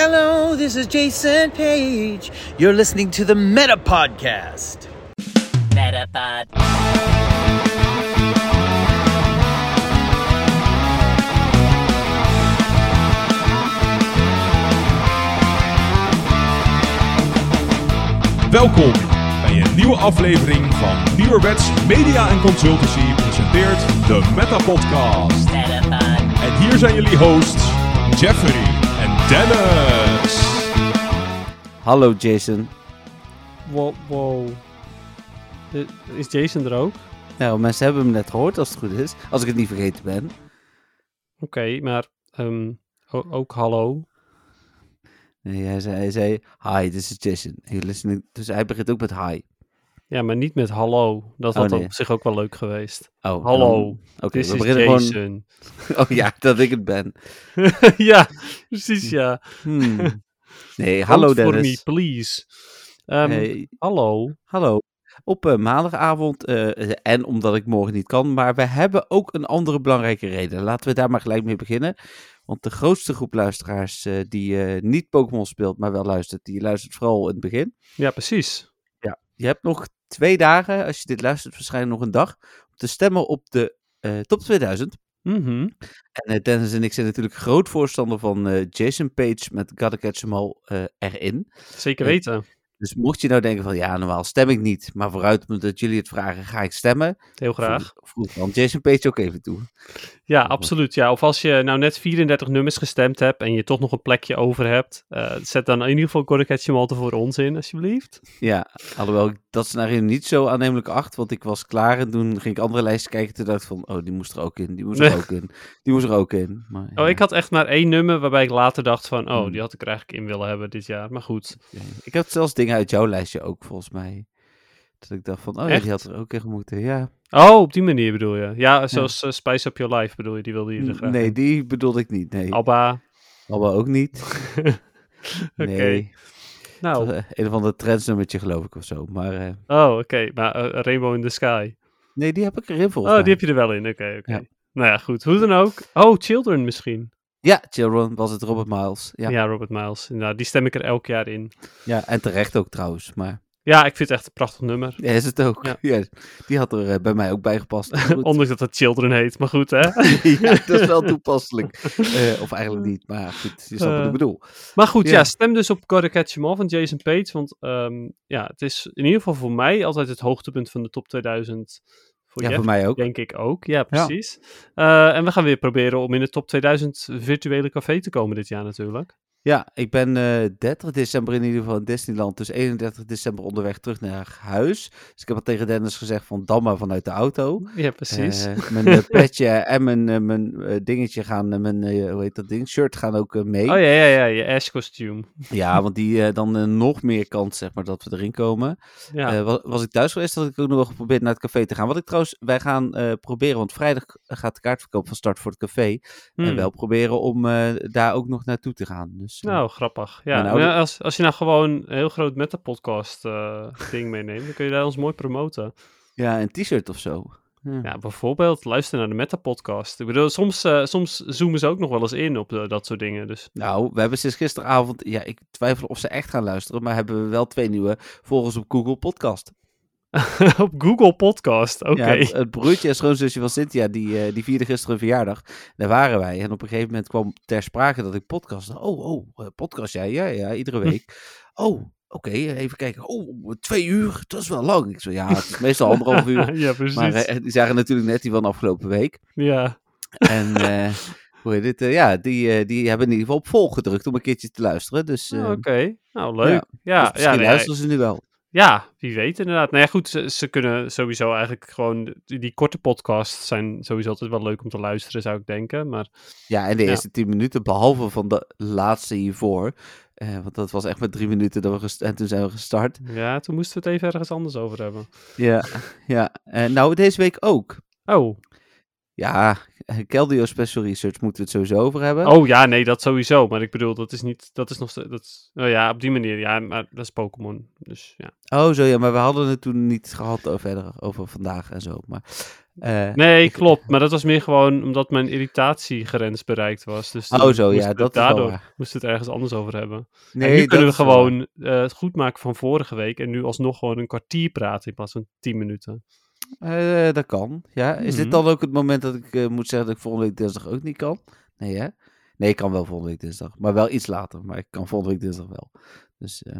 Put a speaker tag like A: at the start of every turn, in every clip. A: Hello, this is Jason Page. You're listening to the Meta Podcast.
B: Metapod.
C: Welkom bij een nieuwe aflevering van Nieuwerwets Media en Consultancy presenteert de Meta Podcast.
B: Metapod.
C: En hier zijn jullie hosts Jeffrey en Dennis.
A: Hallo Jason.
D: Wow. wow. Eh, Is Jason er ook? Oké,
A: Nou, mensen hebben hem net gehoord als het goed is. Als ik het niet vergeten ben.
D: maar ehm, o- ook hallo.
A: Nee, hij zei, hij zei hi, this is Jason. You're listening. Dus hij begint ook met hi.
D: Ja, maar niet met hallo. Dat
A: Oh,
D: had
A: nee.
D: op zich ook wel leuk geweest.
A: Oh,
D: Hallo,
A: dan- Oké,
D: Dit
A: we
D: is
A: beginnen gewoon...
D: Jason.
A: Oh ja, dat ik het ben.
D: ja, precies ja.
A: Hmm. Nee, Hm. hallo
D: Vote for me,
A: Dennis.
D: please. Ehm,
A: Hey,
D: Hallo.
A: Hallo. Op eh, maandagavond, eh, en omdat ik morgen niet kan, maar we hebben ook een andere belangrijke reden. Laten we daar maar gelijk mee beginnen. Want de grootste groep luisteraars eh, die eh, niet Pokémon speelt, maar wel luistert, die luistert vooral in het begin.
D: Ja, precies.
A: Je hebt nog twee dagen, als je dit luistert, waarschijnlijk nog een dag, om te stemmen op de eh, top 2000.
D: Mhm.
A: En eh, Dennis en ik zijn natuurlijk groot voorstander van eh, Jason Page met Gotta Catch 'em All eh, erin.
D: Zeker
A: Hey.
D: weten.
A: Dus mocht je nou denken van, ja, normaal stem ik niet, maar vooruit dat jullie het vragen, ga ik stemmen.
D: Heel graag.
A: Vroeg, vroeg dan Jason Page ook even toe.
D: Ja, absoluut. Ja. Of als je nou net 34 nummers gestemd hebt en je toch nog een plekje over hebt, eh, zet dan in ieder geval Gordon Malte voor ons in, alsjeblieft.
A: Ja, alhoewel ik dat scenario niet zo aannemelijk acht, want ik was klaar en toen ging ik andere lijsten kijken. Toen dacht ik van, oh, die moest er ook in, die moest er ook in, die moest er ook in. Maar,
D: Oh,
A: ja,
D: ik had echt maar één nummer waarbij ik later dacht van, oh,
A: Hmm.
D: die had ik er eigenlijk in willen hebben dit jaar. Maar goed,
A: oké. Ik had zelfs dingen uit jouw lijstje ook, volgens mij. Dat ik dacht van, oh ja,
D: Echt?
A: die had er ook in moeten. Ja,
D: oh, op die manier bedoel je. Ja, zoals eh, Spice Up Your Life bedoel je, die wilde je er graag
A: nee,
D: in.
A: die bedoelde ik niet. Nee,
D: Abba.
A: Alba ook niet. Nee,
D: Nou,
A: Dat was, eh, een of ander trendsnummertje geloof ik of zo. Maar eh,
D: oh, oké. Maar eh, Rainbow in the Sky.
A: nee, die heb ik erin volgens
D: Oh,
A: mij.
D: die heb je er wel in. Oké, oké.
A: Ja.
D: Nou ja, goed. Hoe dan ook. Oh, Children misschien.
A: Ja, Children was het Robert Miles. Ja.
D: Ja,
A: Ja.
D: Robert Miles. Nou, die stem ik er elk jaar in.
A: en terecht ook trouwens, maar...
D: Ja, ik vind het echt een prachtig nummer.
A: Ja, is het ook. Ja.
D: Ja.
A: die had er eh, bij mij ook bij gepast. Maar goed.
D: Ondanks dat het Children heet, maar goed, hè.
A: ja, dat is wel toepasselijk. Eh, of eigenlijk niet, maar goed, je snapt wat ik
D: Eh.
A: bedoel.
D: Maar goed, ja.
A: Ja.
D: stem dus op Gotta Catch 'Em All van Jason Page. Want ehm, ja, het is in ieder geval voor mij altijd het hoogtepunt van de top 2000. Voor
A: Ja,
D: Jeff,
A: voor mij ook.
D: denk ik ook. Ja, precies. Eh, en we gaan weer proberen om in de top 2000 virtuele café te komen dit jaar natuurlijk.
A: Ja, ik ben eh, 30 december in ieder geval in Disneyland. Dus 31 december onderweg terug naar huis. Dus ik heb al tegen Dennis gezegd van dan maar vanuit de auto.
D: Ja, precies.
A: Eh, mijn eh, petje en mijn, eh, mijn eh, dingetje gaan, eh, mijn, eh, hoe heet dat ding, shirt gaan ook eh, mee.
D: oh ja, ja, ja, je Ash kostuum.
A: Ja, want die eh, dan eh, nog meer kans, zeg maar, dat we erin komen.
D: Ja.
A: Eh, wa- was, ik thuis geweest, had ik ook nog wel geprobeerd naar het café te gaan. Wat ik trouwens, wij gaan eh, proberen, want vrijdag eh, gaat de kaartverkoop van start voor het café. En
D: Hmm.
A: wel proberen om eh, daar ook nog naartoe te gaan. Dus, eh,
D: Nou, grappig. Ja,
A: Mijn oude-
D: maar als, als je nou gewoon een heel groot metapodcast podcast ding meeneemt, dan kun je daar ons mooi promoten.
A: Ja, een t-shirt of zo.
D: Ja, bijvoorbeeld luister naar de metapodcast. Ik bedoel, soms, eh, soms zoomen ze ook nog wel eens in op eh, dat soort dingen. Dus
A: Nou, we hebben sinds gisteravond, ja, ik twijfel of ze echt gaan luisteren, maar hebben we wel twee nieuwe volgers op Google Podcast.
D: op Google Podcast, oké.
A: Ja, het, het broertje en schoonzusje van Cynthia, die, eh, die vierde gisteren een verjaardag. Daar waren wij. En op een gegeven moment kwam ter sprake dat ik podcast. Oh, oh, eh, podcast jij? Ja, ja, iedere week. Oh, oké, even kijken. Oh, twee uur, dat is wel lang. Ik zo, ja, het is meestal anderhalf uur.
D: ja, precies.
A: Maar eh, die zagen natuurlijk net die van afgelopen week.
D: ja.
A: En eh, hoe heet dit? Eh, ja, die, eh, die hebben in ieder geval op vol gedrukt om een keertje te luisteren. Dus, eh,
D: Oh, Oké, nou leuk. Ja,
A: dus
D: ja,
A: misschien
D: nee,
A: luisteren ze nu wel.
D: ja, wie weet inderdaad. Nou ja, goed, ze, ze kunnen sowieso eigenlijk gewoon... Die, die korte podcasts zijn sowieso altijd wel leuk om te luisteren, zou ik denken. Maar
A: Ja, en de
D: Ja.
A: eerste tien minuten, behalve van de laatste hiervoor. eh, want dat was echt maar drie minuten dat we gest- en toen zijn we gestart.
D: ja, toen moesten we het even ergens anders over hebben.
A: Ja, ja. Eh, nou, deze week ook.
D: Oh,
A: Ja, Keldeo Special Research moeten we het sowieso over hebben.
D: Oh ja, nee, dat sowieso. Maar ik bedoel, dat is niet. Dat is nog steeds. Dat is, nou ja, op die manier. Ja, maar dat is Pokémon. Dus ja.
A: Oh, zo ja, maar we hadden het toen niet gehad over, verder over vandaag en zo. Maar, eh,
D: Nee,
A: ik-
D: klopt. Maar dat was meer gewoon omdat mijn irritatiegrens bereikt was. Dus
A: Oh,
D: toen
A: zo,
D: moest
A: ja,
D: het
A: dat is wel
D: daardoor
A: waar.
D: moest het ergens anders over hebben.
A: nee,
D: en nu kunnen we
A: dat is wel waar.
D: gewoon eh, het goed maken van vorige week. En nu alsnog gewoon een kwartier praten in plaats van tien minuten.
A: Eh, dat kan, ja. Is dit
D: Mhm.
A: dan ook het moment dat ik eh, moet zeggen dat ik volgende week dinsdag ook niet kan? Nee, hè? Nee, ik kan wel volgende week dinsdag, maar wel iets later. Maar ik kan volgende week dinsdag wel. Dus, eh,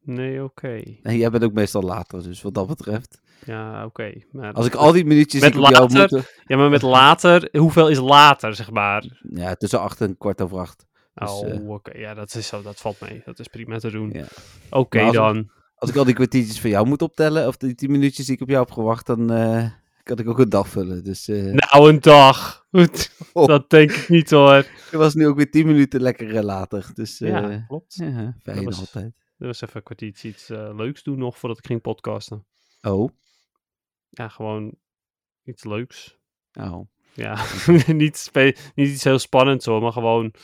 D: Nee, oké.
A: en jij bent ook meestal later, dus wat dat betreft.
D: Ja, oké. Maar-
A: Als ik al die minuutjes
D: Met
A: die ik op jou
D: later?
A: moet...
D: Ja, maar met later. Hoeveel is later, zeg maar?
A: eh, Ja, tussen acht en kwart over acht. Dus,
D: oh,
A: eh,
D: oké. Ja, dat is zo. Dat valt mee. Dat is prima te doen.
A: Ja.
D: Oké,
A: Maar als-
D: dan.
A: Als ik al die kwartiertjes van jou moet optellen, of die tien minuutjes die ik op jou heb gewacht, dan eh, kan ik ook een dag vullen. Dus eh,
D: Nou, een dag. Goed,
A: Oh.
D: Dat denk ik niet hoor.
A: ik was nu ook weer tien minuten lekker eh, later. Dus eh
D: ja,
A: ja,
D: klopt.
A: fijn
D: was-
A: altijd.
D: Er was even een kwartiertje iets eh, leuks doen nog voordat ik ging podcasten.
A: Oh,
D: Ja, gewoon iets leuks.
A: oh.
D: Ja, niet, spe- niet iets heel spannends hoor, maar gewoon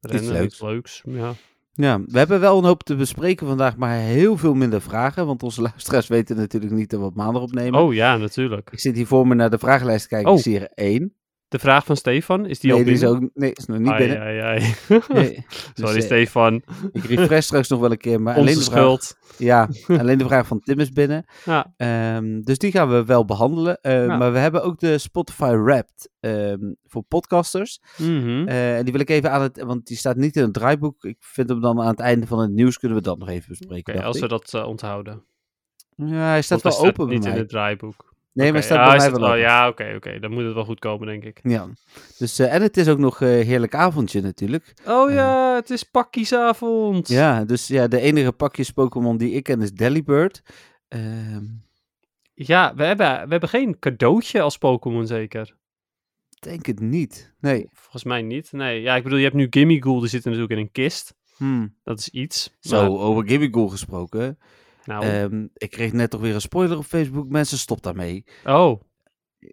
D: rennen,
A: leuks.
D: iets leuks. Ja.
A: Ja, we hebben wel een hoop te bespreken vandaag, maar heel veel minder vragen. Want onze luisteraars weten natuurlijk niet dat we op maandag opnemen.
D: Oh ja, natuurlijk.
A: Ik zit hier voor me naar de vragenlijst te kijken.
D: Oh.
A: Ik zie er één.
D: De vraag van Stefan, is die
A: nee,
D: al
A: die is,
D: binnen?
A: ook, nee, is nog niet
D: Ai,
A: binnen.
D: ai, ai.
A: Nee.
D: Sorry
A: Dus, eh,
D: Stefan,
A: ik refresh straks nog wel een keer. Maar alleen
D: onze
A: de, vraag,
D: schuld.
A: ja, alleen de vraag van Tim is binnen.
D: Ja.
A: Ehm, dus die gaan we wel behandelen. Eh,
D: Ja.
A: Maar we hebben ook de Spotify Wrapped ehm, voor podcasters.
D: Mhm.
A: Eh, en die wil ik even aan het... Want die staat niet in het draaiboek. Ik vind hem dan aan het einde van het nieuws kunnen we dat nog even bespreken.
D: Oké,
A: dacht
D: als
A: ik.
D: we dat eh, onthouden.
A: Ja, hij staat
D: Want hij
A: wel open bij
D: niet
A: mij.
D: in het draaiboek.
A: Nee, maar hij
D: Oké,
A: staat
D: ja,
A: bij
D: hij
A: mij
D: staat-
A: wel
D: oh,
A: open.
D: Ja, oké, oké. Dan moet het wel goed komen, denk ik.
A: Ja. Dus, eh, en het is ook nog eh, heerlijk avondje natuurlijk.
D: Oh
A: Eh.
D: ja, het is pakkiesavond.
A: Ja, dus ja, de enige pakjes Pokémon die ik ken is Delibird. Ehm,
D: Ja, we hebben, we hebben geen cadeautje als Pokémon zeker.
A: denk het niet. Nee.
D: Volgens mij niet. Nee, ja, ik bedoel, je hebt nu Gimmigool, die zit natuurlijk in een kist.
A: Hmm.
D: Dat is iets.
A: Zo,
D: maar-
A: over Gimmigool gesproken.
D: nou,
A: Ehm, ik kreeg net toch weer een spoiler op Facebook. Mensen, stop daarmee.
D: oh,
A: eh,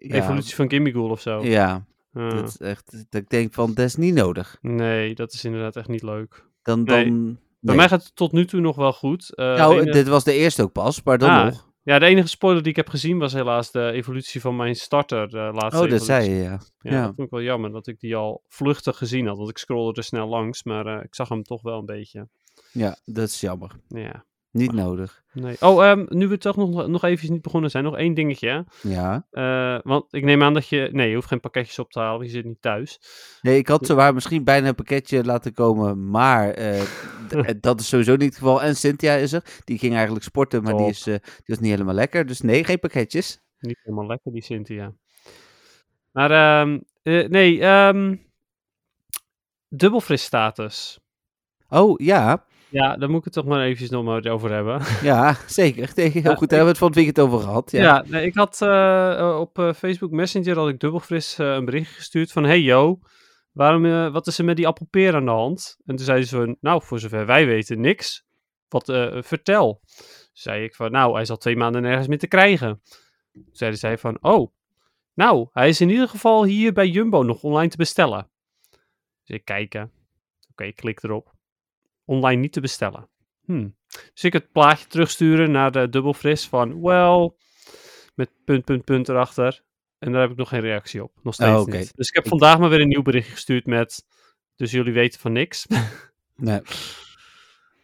A: Ja,
D: evolutie van Gimmigool of zo.
A: Ja,
D: Ah,
A: dat is echt, dat ik denk van, dat is niet nodig.
D: nee, dat is inderdaad echt niet leuk.
A: Dan, dan...
D: Nee. Bij
A: nee.
D: mij gaat het tot nu toe nog wel goed. Eh,
A: Nou,
D: ene-
A: dit was de eerste ook pas, maar dan
D: Ah,
A: nog.
D: Ja, de enige spoiler die ik heb gezien was helaas de evolutie van mijn starter. De laatste
A: Oh, dat
D: evolutie.
A: zei je, ja.
D: Ja,
A: Ja.
D: dat vond ik wel jammer dat ik die al vluchtig gezien had. Want ik scrollde er snel langs, maar eh, ik zag hem toch wel een beetje.
A: Ja, dat is jammer.
D: Ja,
A: Niet nodig.
D: nee. Oh, ehm, nu we toch nog, nog even niet begonnen zijn, nog één dingetje. hè.
A: Ja.
D: Eh, want ik neem aan dat je... Nee, je hoeft geen pakketjes op te halen, want je zit niet thuis.
A: Nee, ik had zowaar misschien bijna een pakketje laten komen, maar eh, d- dat is sowieso niet het geval. En Cynthia is er, die ging eigenlijk sporten, maar die
D: Top.
A: is, eh, die is niet helemaal lekker. Dus nee, geen pakketjes.
D: Niet helemaal lekker, die Cynthia. Maar ehm, eh, nee, ehm dubbelfrisstatus.
A: Oh, ja,
D: Ja, daar moet ik het toch maar eventjes nog maar over hebben.
A: ja, zeker. Nee, heel goed, daar hebben we het van het weekend over gehad. Ja,
D: Ja, nee, ik had eh, eh, op eh, Facebook Messenger had ik dubbelfris eh, een bericht gestuurd van hey yo, waarom, eh, wat is er met die appelpeer aan de hand? En toen zeiden ze van, nou, voor zover wij weten, niks. Wat, eh, vertel. Toen zei ik van, nou, hij is al twee maanden nergens meer te krijgen. Toen zeiden zij van, oh, nou, hij is in ieder geval hier bij Jumbo nog online te bestellen. Dus ik kijken. Oké, ik klik erop. Online niet te bestellen. Hmm. Dus ik het plaatje terugsturen naar de dubbelfris van, well, met punt, punt, punt erachter. En daar heb ik nog geen reactie op. Nog steeds
A: Oh, oké.
D: niet. Dus ik heb
A: Ik-
D: vandaag maar weer een nieuw bericht gestuurd met, dus jullie weten van niks.
A: nee.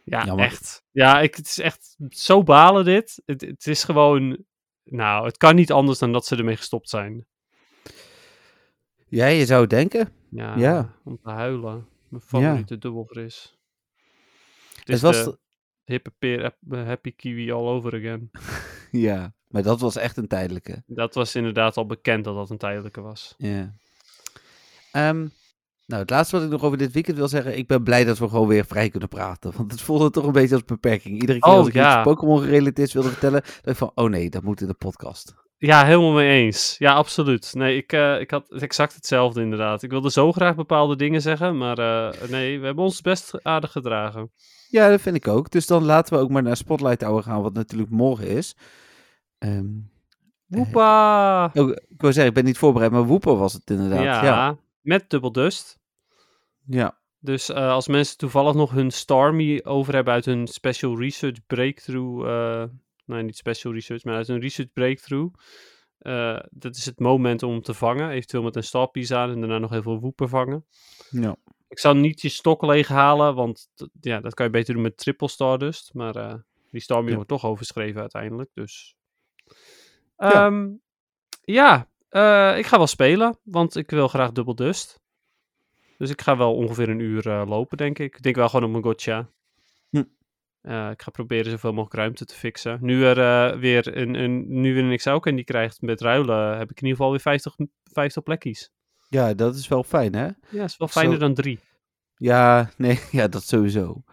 D: ja,
A: Jammer.
D: echt. Ja, ik, het is echt zo balen dit. Het, het is gewoon, nou, het kan niet anders dan dat ze ermee gestopt zijn.
A: ja je zou denken.
D: Ja,
A: Ja.
D: om te huilen. Mijn favoriete dubbelfris. Het is
A: Het was,
D: de hippe peer, app- eh, happy kiwi all over again.
A: ja, maar dat was echt een tijdelijke.
D: Dat was inderdaad al bekend dat dat een tijdelijke was.
A: Ja. Ehm, nou, het laatste wat ik nog over dit weekend wil zeggen, ik ben blij dat we gewoon weer vrij kunnen praten. Want het voelde toch een beetje als beperking. Iedere keer
D: Oh,
A: als ik
D: ja.
A: iets Pokémon gerelateerd wilde vertellen, dacht ik van, oh nee, dat moet in de podcast.
D: Ja, helemaal mee eens. Ja, absoluut. Nee, ik, eh, ik had exact hetzelfde inderdaad. Ik wilde zo graag bepaalde dingen zeggen, maar eh, nee, we hebben ons best aardig gedragen.
A: Ja, dat vind ik ook. Dus dan laten we ook maar naar Spotlight Hour gaan, wat natuurlijk morgen is. Ehm,
D: Woepa!
A: Oh, ik wil zeggen, ik ben niet voorbereid, maar Woeper was het inderdaad. Ja.
D: Ja,
A: ja.
D: met Double Dust. Dus eh, als mensen toevallig nog hun Starmie over hebben uit hun Special Research Breakthrough. eh, nee, niet Special Research, maar uit hun Research Breakthrough. eh, dat is het moment om hem te vangen. Eventueel met een Starpiece aan en daarna nog heel veel Woeper vangen.
A: Ja.
D: Ik zou niet je stok leeg halen, want dat- ja, dat kan je beter doen met Triple Stardust. Maar eh, die Starmie
A: Ja.
D: wordt toch overschreven uiteindelijk. Dus.
A: Ja.
D: Ehm, ja, eh, ik ga wel spelen, want ik wil graag Double Dust. Dus ik ga wel ongeveer een uur eh, lopen, denk ik. Ik denk wel gewoon op mijn gotcha.
A: Hm.
D: Eh, ik ga proberen zoveel mogelijk ruimte te fixen. Nu er eh, weer een, een, nu weer een Exauken die krijgt met ruilen, heb ik in ieder geval weer 50, 50 plekjes.
A: Ja, dat is wel fijn, hè?
D: Ja, is wel
A: Zo-
D: fijner dan drie.
A: Ja, nee, ja, dat sowieso.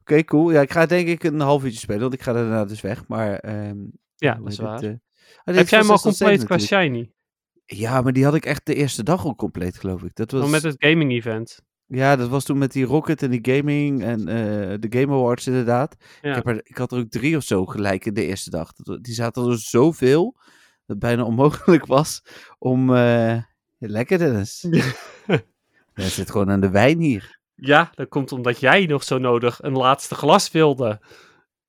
A: Oké, cool. Ja, ik ga denk ik een half uurtje spelen, want ik ga daarna dus weg. Maar, ehm,
D: Ja,
A: hoe
D: dat is
A: heet
D: waar.
A: het, eh, ah, dit
D: heb
A: is van
D: jij hem al
A: 6 tot 7
D: compleet qua
A: natuurlijk.
D: shiny?
A: Ja, maar die had ik echt de eerste dag al compleet, geloof ik. Dat was,
D: Oh, Met het gaming event.
A: Ja, dat was toen met die Rocket en die gaming en eh, de Game Awards inderdaad.
D: Ja.
A: Ik, heb er, ik had er ook drie of zo gelijk in de eerste dag. Dat- Die zaten er zoveel dat het bijna onmogelijk was om... eh, lekker, Dennis. Er zit gewoon aan de wijn hier.
D: Ja, dat komt omdat jij nog zo nodig een laatste glas wilde.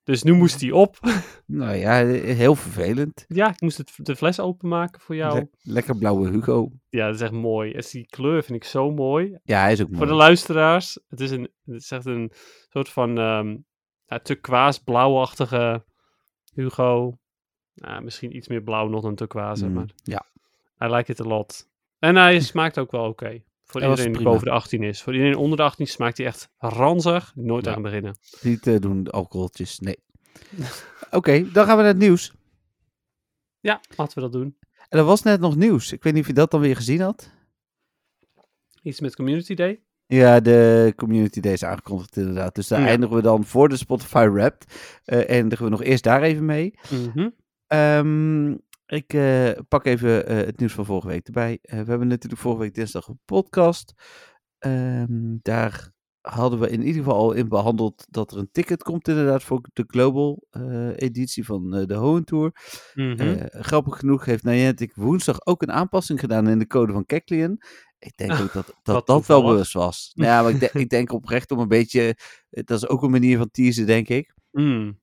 D: Dus nu moest die op.
A: Nou ja, heel vervelend.
D: Ja, ik moest het, de fles openmaken voor jou.
A: Le- lekker blauwe Hugo.
D: Ja, dat is echt mooi. Dus die kleur vind ik zo mooi.
A: Ja, hij is ook
D: Voor
A: mooi.
D: de luisteraars, het is, een, het is echt een soort van ehm ja, turquoise blauwachtige Hugo. Nou, misschien iets meer blauw nog dan turquoise,
A: Mm,
D: maar
A: Ja,
D: I like it a lot. En hij smaakt ook wel oké. Voor
A: Hij was
D: iedereen die
A: prima.
D: boven de 18 is. Voor iedereen onder de 18 smaakt hij echt ranzig. Nooit
A: Ja.
D: aan beginnen.
A: niet eh, doen alcoholtjes, nee. Oké, dan gaan we naar het nieuws.
D: Ja, laten we dat doen.
A: En er was net nog nieuws. Ik weet niet of je dat dan weer gezien had.
D: Iets met Community Day.
A: Ja, de Community Day is aangekondigd inderdaad. Dus daar
D: Ja.
A: eindigen we dan voor de Spotify Wrapped. Eh, eindigen we nog eerst daar even mee.
D: Mhm.
A: Ehm, ik eh, pak even eh, het nieuws van vorige week erbij. Eh, we hebben natuurlijk vorige week dinsdag een podcast. Ehm, daar hadden we in ieder geval al in behandeld dat er een ticket komt inderdaad voor de Global eh, editie van eh, de Hohen Tour.
D: Mhm.
A: Eh, grappig genoeg heeft Niantic woensdag ook een aanpassing gedaan in de code van Keklian. Ik denk ook dat dat,
D: wat
A: dat wel
D: toevallig.
A: bewust was. Nou ja, maar ik, de- ik denk oprecht om een beetje... eh, Dat is ook een manier van teasen, denk ik.
D: Mm.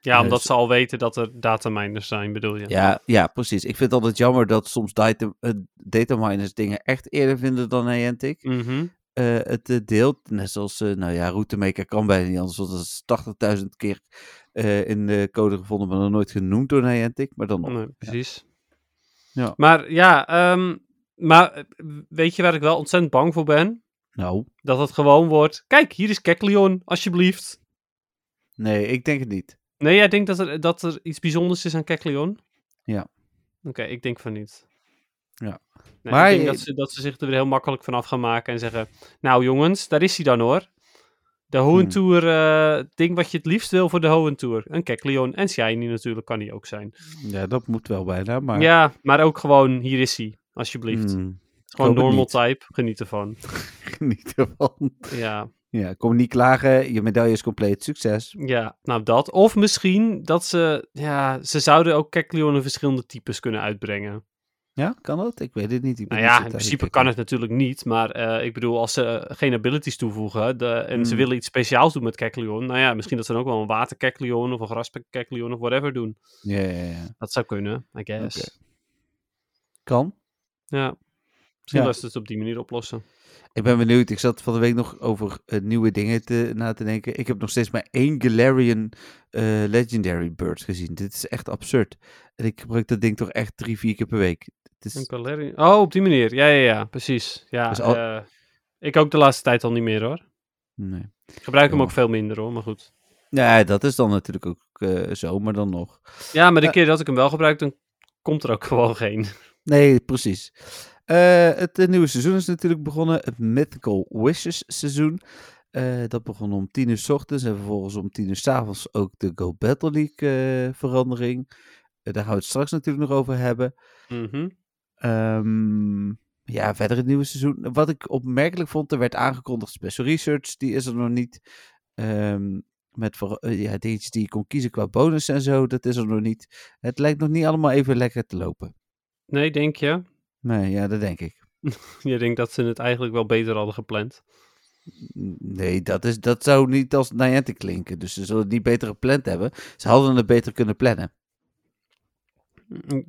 D: Ja,
A: Eh,
D: omdat
A: s-
D: ze al weten dat er dataminers zijn, bedoel je?
A: Ja, ja, precies. Ik vind het altijd jammer dat soms data, eh, dataminers dingen echt eerder vinden dan Niantic.
D: Mhm.
A: Eh, het eh, deelt, net zoals, eh, nou ja, Routemaker kan bijna niet anders, want dat is 80.000 keer eh, in de code gevonden, maar nog nooit genoemd door Niantic, maar dan nog.
D: Nee, precies.
A: Ja.
D: Maar ja, ehm, maar eh, weet je waar ik wel ontzettend bang voor ben?
A: Nou,
D: Dat het gewoon wordt. Kijk, hier is Keklion, alsjeblieft.
A: nee, ik denk het niet.
D: Nee, jij denkt dat er, dat er iets bijzonders is aan Keklion?
A: Ja.
D: Oké, ik denk van niet.
A: Ja.
D: Nee,
A: Maar
D: ik denk
A: je-
D: dat ze, dat ze zich er weer heel makkelijk van af gaan maken en zeggen... Nou jongens, daar is hij dan hoor. De
A: Hmm.
D: Hoentour, eh ding wat je het liefst wil voor de Hoentour. Een Keklion en Shiny natuurlijk kan die ook zijn.
A: Ja, dat moet wel bijna, maar...
D: Ja, maar ook gewoon, hier is hij, alsjeblieft.
A: Mm,
D: Gewoon
A: hoop het
D: normal
A: niet.
D: type, geniet ervan.
A: geniet ervan.
D: Ja,
A: Ja, kom niet klagen, je medaille is compleet, succes.
D: ja, nou dat. Of misschien dat ze, ja, ze zouden ook Kekleon in verschillende types kunnen uitbrengen.
A: Ja, kan dat? Ik weet het niet. Ik ben
D: Nou
A: niet
D: ja,
A: zo
D: in
A: thuis
D: principe
A: in
D: kan
A: Keklion.
D: het natuurlijk niet, maar eh, ik bedoel, als ze eh, geen abilities toevoegen de, en ze
A: Hmm.
D: willen iets speciaals doen met Kekleon, nou ja, misschien dat ze dan ook wel een waterkekleon of een graskekleon of whatever doen.
A: Ja, ja, ja.
D: Dat zou kunnen, I guess.
A: Kan.
D: Ja, misschien
A: Ja.
D: laten ze het op die manier oplossen.
A: Ik ben benieuwd. Ik zat van de week nog over eh, nieuwe dingen te, na te denken. Ik heb nog steeds maar één Galarian eh, Legendary Bird gezien. Dit is echt absurd. En ik gebruik dat ding toch echt drie, vier keer per week. Het is,
D: Een Galarian- Oh, op die manier. Ja, ja, ja, precies. Ja,
A: Dus al-
D: eh, ik ook de laatste tijd al niet meer hoor.
A: nee.
D: Ik gebruik hem
A: Ja.
D: ook veel minder hoor, maar goed.
A: Ja, dat is dan natuurlijk ook eh, zo, maar dan nog.
D: Ja, maar de
A: Eh.
D: keer dat ik hem wel gebruik, dan komt er ook gewoon geen.
A: Nee, precies. Eh, het eh, nieuwe seizoen is natuurlijk begonnen. Het Mythical Wishes seizoen. Eh, dat begon om tien uur 's ochtends en vervolgens om tien uur 's avonds ook de Go Battle League eh, verandering. Eh, daar gaan we het straks natuurlijk nog over hebben.
D: Mhm.
A: Ehm, ja, verder het nieuwe seizoen. Wat ik opmerkelijk vond, er werd aangekondigd Special Research, die is er nog niet. Ehm,
D: Nee, denk je?
A: Nee, ja, dat denk ik.
D: Je denkt dat ze het eigenlijk wel beter hadden gepland.
A: Nee, dat, is, dat zou niet als Niantic klinken. Dus ze zullen het niet beter gepland hebben. Ze hadden het beter kunnen plannen.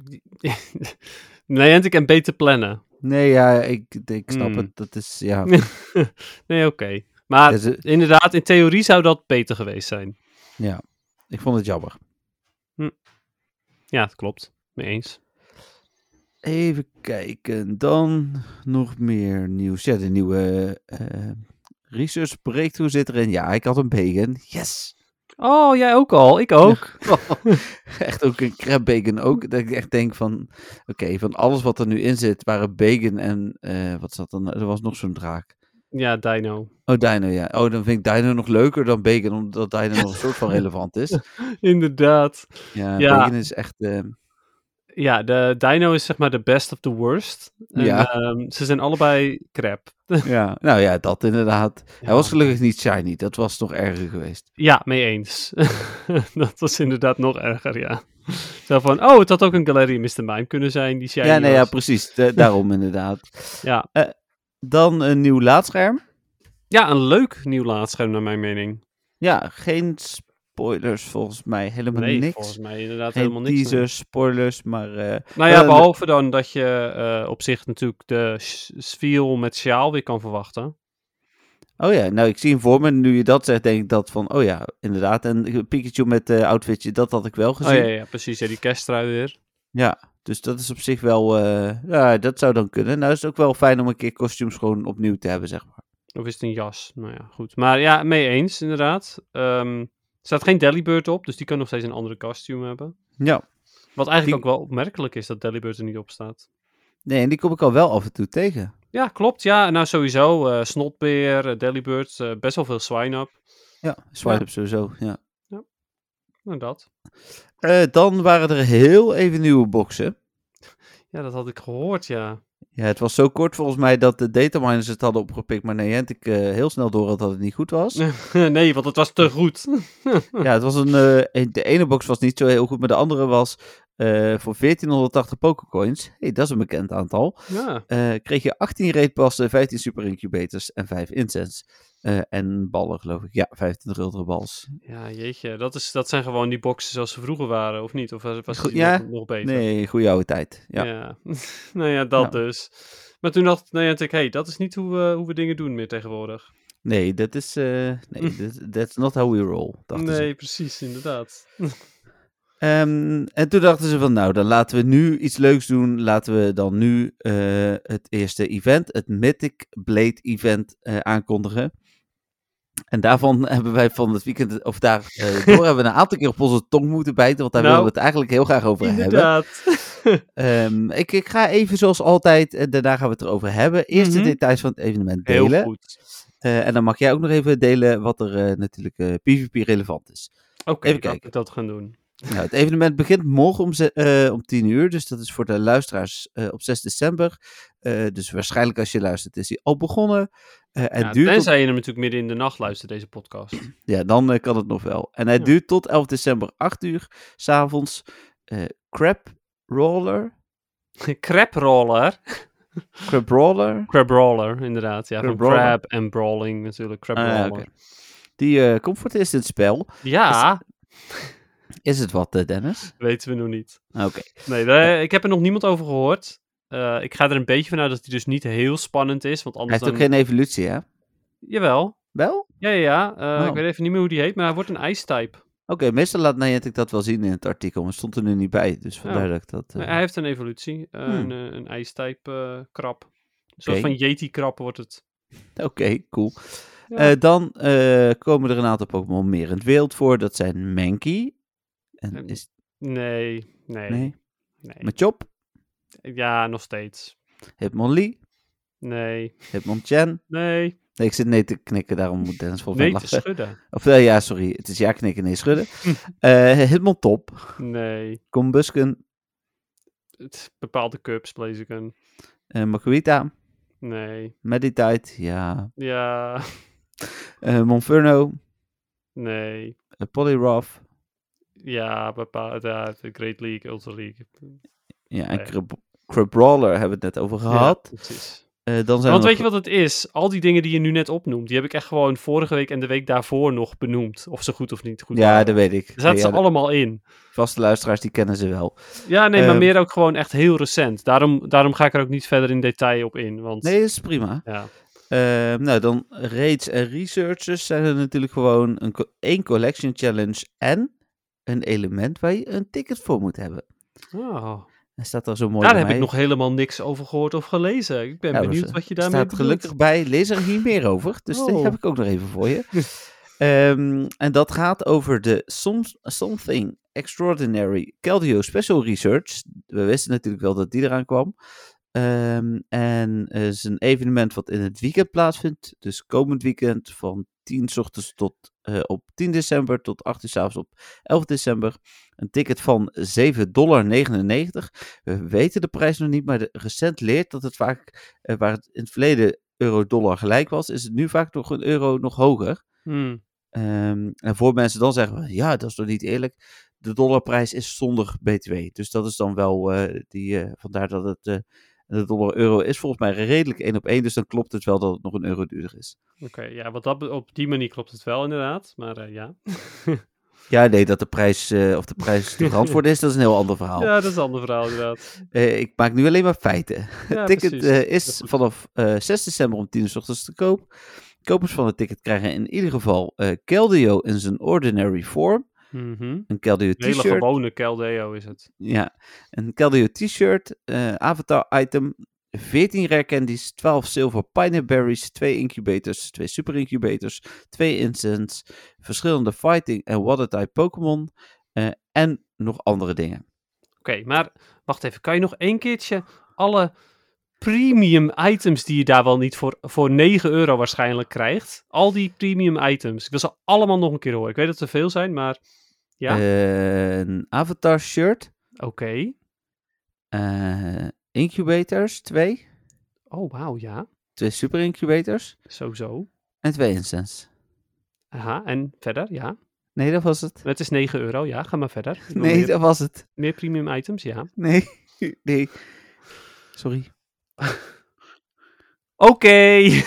D: Niantic en beter plannen.
A: Nee, ja, ik, ik snap
D: Hmm.
A: het. Dat is, ja...
D: Nee, oké. Maar
A: dat is-
D: inderdaad, in theorie zou dat beter geweest zijn.
A: ja, ik vond het jammer.
D: Ja, dat klopt. Mee eens.
A: Even kijken, dan nog meer nieuws. Ja, de nieuwe eh research breakthrough zit erin. Ja, ik had een bacon. Yes!
D: Oh, jij ook al. Ik ook.
A: echt ook een crab bacon ook. Dat ik echt denk van, oké, van alles wat er nu in zit, waren bacon en, eh, wat zat er nou? Er was nog zo'n draak.
D: Ja, Dino.
A: Oh, Dino, ja. Oh, dan vind ik Dino nog leuker dan bacon, omdat Dino nog een soort van relevant is.
D: Inderdaad.
A: Ja,
D: Ja.
A: bacon is echt... eh,
D: Ja, de Dino is zeg maar de best of the worst. En,
A: Ja.
D: ehm, ze zijn allebei crap.
A: ja. Nou ja, dat inderdaad. Hij
D: Ja.
A: was gelukkig niet shiny. Dat was toch erger geweest.
D: Ja, mee eens. dat was inderdaad nog erger, ja. Zo van, oh, het had ook een Galerie Mr. Mime kunnen zijn. Die shiny
A: ja, nee, ja,
D: was.
A: precies. Da- daarom inderdaad.
D: Ja.
A: Eh, dan een nieuw laadscherm.
D: ja, een leuk nieuw laadscherm naar mijn mening.
A: Ja, geen spoilers volgens mij. Helemaal
D: nee,
A: niks.
D: volgens mij inderdaad
A: geen
D: helemaal niks. nee.
A: teasers, spoilers, maar... eh,
D: Nou ja,
A: Eh,
D: behalve dan dat je eh, op zich natuurlijk de s- sfeer met sjaal weer kan verwachten.
A: oh ja, nou ik zie hem voor me. Nu je dat zegt, denk ik dat van... Oh ja, inderdaad. En Pikachu met eh outfitje, dat had ik wel
D: Oh
A: gezien.
D: ja, ja, ja, precies. Ja, die kersttrui weer.
A: Dus dat is op zich wel... eh, ja, dat zou dan kunnen. Nou is het ook wel fijn om een keer kostuums gewoon opnieuw te hebben, zeg maar.
D: Of is het een jas? Nou ja, goed. Maar ja, mee eens inderdaad. Ehm, er staat geen Delibird op, dus die kan nog steeds een andere kostuum hebben.
A: Ja.
D: Wat eigenlijk
A: Die-
D: ook wel opmerkelijk is dat Delibird er niet op staat.
A: Nee, en die kom ik al wel af en toe tegen.
D: Ja, klopt. Ja, nou sowieso. eh Snotbeer, eh, Delibird, eh, best wel veel swine-up.
A: Ja, swipe up sowieso, ja.
D: Nou, dat.
A: Eh, dan waren er heel even nieuwe boxen.
D: Ja, dat had ik gehoord, ja.
A: Ja, het was zo kort volgens mij dat de dataminers het hadden opgepikt, maar Niantic eh heel snel door had dat het niet goed was.
D: nee, want het was te goed.
A: Ja, het was een, eh, een- de ene box was niet zo heel goed, maar de andere was eh, voor 1480 pokercoins, hey, dat is een bekend aantal,
D: ja.
A: eh, kreeg je 18 raidpassen, 15 super incubators en 5 incense. Eh, en ballen geloof ik, ja, 25 ultra bals.
D: ja, jeetje. Dat, is, dat zijn gewoon die boxen zoals ze vroeger waren, of niet? Of was, was
A: Goed,
D: die
A: ja.
D: nog, nog beter?
A: Nee, goede oude tijd. Ja.
D: nou ja, dat
A: Ja.
D: dus. Maar toen dacht Niantic, hé, hey, dat is niet hoe, we hoe we dingen doen meer tegenwoordig.
A: Nee, dat is, eh, nee, that- that's not how we roll, dachten ze.
D: nee, precies, inderdaad.
A: Ehm, en toen dachten ze van, nou, dan laten we nu iets leuks doen. Laten we dan nu eh, het eerste event, het Mythic Blade Event, eh, aankondigen. En daarvan hebben wij van het weekend, of daar eh, door hebben we een aantal keer op onze tong moeten bijten, want daar
D: Nou,
A: willen we het eigenlijk heel graag over hebben.
D: inderdaad.
A: Ehm, ik, ik ga even zoals altijd, en daarna gaan we het erover hebben, eerst
D: Mhm.
A: de details van het evenement
D: Heel
A: delen.
D: goed.
A: Eh, en dan mag jij ook nog even delen wat er eh, natuurlijk eh, PvP relevant is.
D: Oké,
A: Even
D: laat
A: kijken.
D: ik dat gaan doen.
A: Nou, het evenement begint morgen om, ze- eh, om 10 uur. Dus dat is voor de luisteraars eh, op 6 december. Eh, dus waarschijnlijk als je luistert is hij al begonnen. Eh, en
D: Ja,
A: duurt tot-
D: tenzij je hem natuurlijk midden in de nacht luistert, deze podcast.
A: ja, dan eh, kan het nog wel. En hij
D: Ja.
A: duurt tot 11 december 8 uur s'avonds. Eh crab Roller.
D: crab roller.
A: Crab Roller.
D: Crab roller, inderdaad. Ja,
A: Crab
D: van
A: roller.
D: crab en brawling natuurlijk. Crab
A: Ah, ja,
D: roller.
A: oké. Die eh comfort is in het spel.
D: Ja,
A: Is het wat, eh, Dennis?
D: weten we nog niet.
A: Oké.
D: Nee, daar- ik heb er nog niemand over gehoord. Eh, ik ga er een beetje vanuit dat hij dus niet heel spannend is, want
A: Hij
D: anders
A: heeft ook
D: dan...
A: geen evolutie, hè?
D: Jawel.
A: Wel? Oké,
D: Ja, ja, ja. Eh,
A: Wow.
D: Ik weet even niet meer hoe die heet, maar hij wordt een ice-type.
A: meestal laat Niantic dat wel zien in het artikel. Maar het stond er nu niet bij. Dus vandaar
D: Oh.
A: dat ik dat... eh,
D: Hij heeft een evolutie. eh,
A: Hmm.
D: Een, eh, een ice-type eh, krab. Een soort
A: Oké.
D: van Yeti-krab wordt het.
A: Oké, cool.
D: Ja.
A: Eh, dan eh, komen er een aantal Pokémon meer in het wild voor. Dat zijn Mankey. En
D: Ehm,
A: is
D: Nee, nee, nee.
A: nee, Machop,
D: Ja, nog steeds.
A: Hitmonlee,
D: Nee,
A: Hitmonchan.
D: nee.
A: Nee, ik zit nee te knikken, daarom moet Dennis volgens
D: Nee
A: mij
D: te
A: lachen.
D: schudden. Hm.
A: Of eh, ja, sorry, het is ja knikken, nee schudden. Eh Hitmontop,
D: Nee.
A: Combusken,
D: Het, bepaalde cups, Blaziken.
A: eh Makuita,
D: Nee.
A: Meditite, ja,
D: Ja.
A: eh Monferno,
D: Nee.
A: Eh, Polly Roth.
D: Ja, bepaald. Ja, de Great League, Ultra League.
A: Ja,
D: Nee.
A: en Crab- Crabrawler hebben we het net over gehad.
D: Ja, precies.
A: Eh, dan zijn
D: Want
A: er
D: weet
A: nog-
D: je wat het is? Al die dingen die je nu net opnoemt, die heb ik echt gewoon vorige week en de week daarvoor nog benoemd. Of ze goed of niet goed
A: Ja,
D: waren.
A: dat weet ik.
D: Daar zaten
A: Ja,
D: ze
A: de
D: allemaal in.
A: vaste luisteraars, die kennen ze wel.
D: Ja, nee, maar
A: Ehm,
D: meer ook gewoon echt heel recent. Daarom, daarom ga ik er ook niet verder in detail op in. Want
A: Nee, dat is prima.
D: ja,
A: Ehm, nou, dan raids en researchers zijn er natuurlijk gewoon een, co- één collection challenge en een element waar je een ticket voor moet hebben.
D: Oh.
A: En staat er zo mooi
D: daar
A: bij
D: heb ik
A: mij.
D: nog helemaal niks over gehoord of gelezen. Ik ben
A: Ja, maar
D: benieuwd
A: ze-
D: wat je
A: Er
D: daarmee
A: staat
D: bedoelt.
A: gelukkig bij, lees er hier meer over. Dus die
D: Oh.
A: heb ik ook nog even voor je. Ehm, en dat gaat over de Soms- Something Extraordinary Keldeo Special Research. We wisten natuurlijk wel dat die eraan kwam. Ehm, en eh, is een evenement wat in het weekend plaatsvindt. Dus komend weekend van 10 's ochtends tot eh, op 10 december tot 8 uur 's avonds op 11 december. Een ticket van 7,99 dollar. We weten de prijs nog niet, maar de, recent leert dat het vaak, eh, waar het in het verleden euro-dollar gelijk was, is het nu vaak nog een euro nog hoger.
D: Hmm.
A: Ehm, en voor mensen dan zeggen, ja, dat is toch niet eerlijk. De dollarprijs is zonder BTW. Dus dat is dan wel eh, die, eh, vandaar dat het, eh, de dollar-euro is volgens mij redelijk één op één. Dus dan klopt het wel dat het nog een euro duurder is.
D: Oké, ja, want dat, be- op die manier klopt het wel inderdaad. Maar eh, ja.
A: Ja, nee, dat de prijs, eh, of de prijs te verantwoorden is, dat is een heel ander verhaal.
D: ja, dat is een ander verhaal inderdaad.
A: Eh, ik maak nu alleen maar feiten.
D: Ja,
A: het ticket
D: precies.
A: eh,
D: Dat is
A: is
D: goed.
A: vanaf eh, 6 december om 10 uur 's ochtends te koop. Kopers van het ticket krijgen in ieder geval eh Keldeo in zijn ordinary form.
D: Mhm.
A: Een Keldeo
D: Een hele
A: eh, t-shirt.
D: gewone Keldeo is het.
A: Ja, een Keldeo t-shirt, eh, avatar item, 14 rare candies, 12 silver pineapple berries, 2 incubators, 2 super incubators, 2 incense, verschillende fighting en water type Pokémon eh, en nog andere dingen.
D: Oké, maar wacht even. Kan je nog één keertje alle premium items die je daar wel niet voor, voor 9 euro waarschijnlijk krijgt. Al die premium items. Ik wil ze allemaal nog een keer horen. Ik weet dat er veel zijn, maar Ja.
A: Eh, een avatar shirt.
D: oké.
A: eh, incubators, twee.
D: Oh, wauw, ja.
A: Twee super incubators
D: Sowieso.
A: en twee incense.
D: Aha, en verder, ja.
A: Nee, dat was het.
D: Het is 9 euro, ja. Ga maar verder. Ik wil
A: Nee,
D: meer,
A: dat was het.
D: meer premium items, ja.
A: Nee, nee. Sorry.
D: Oké.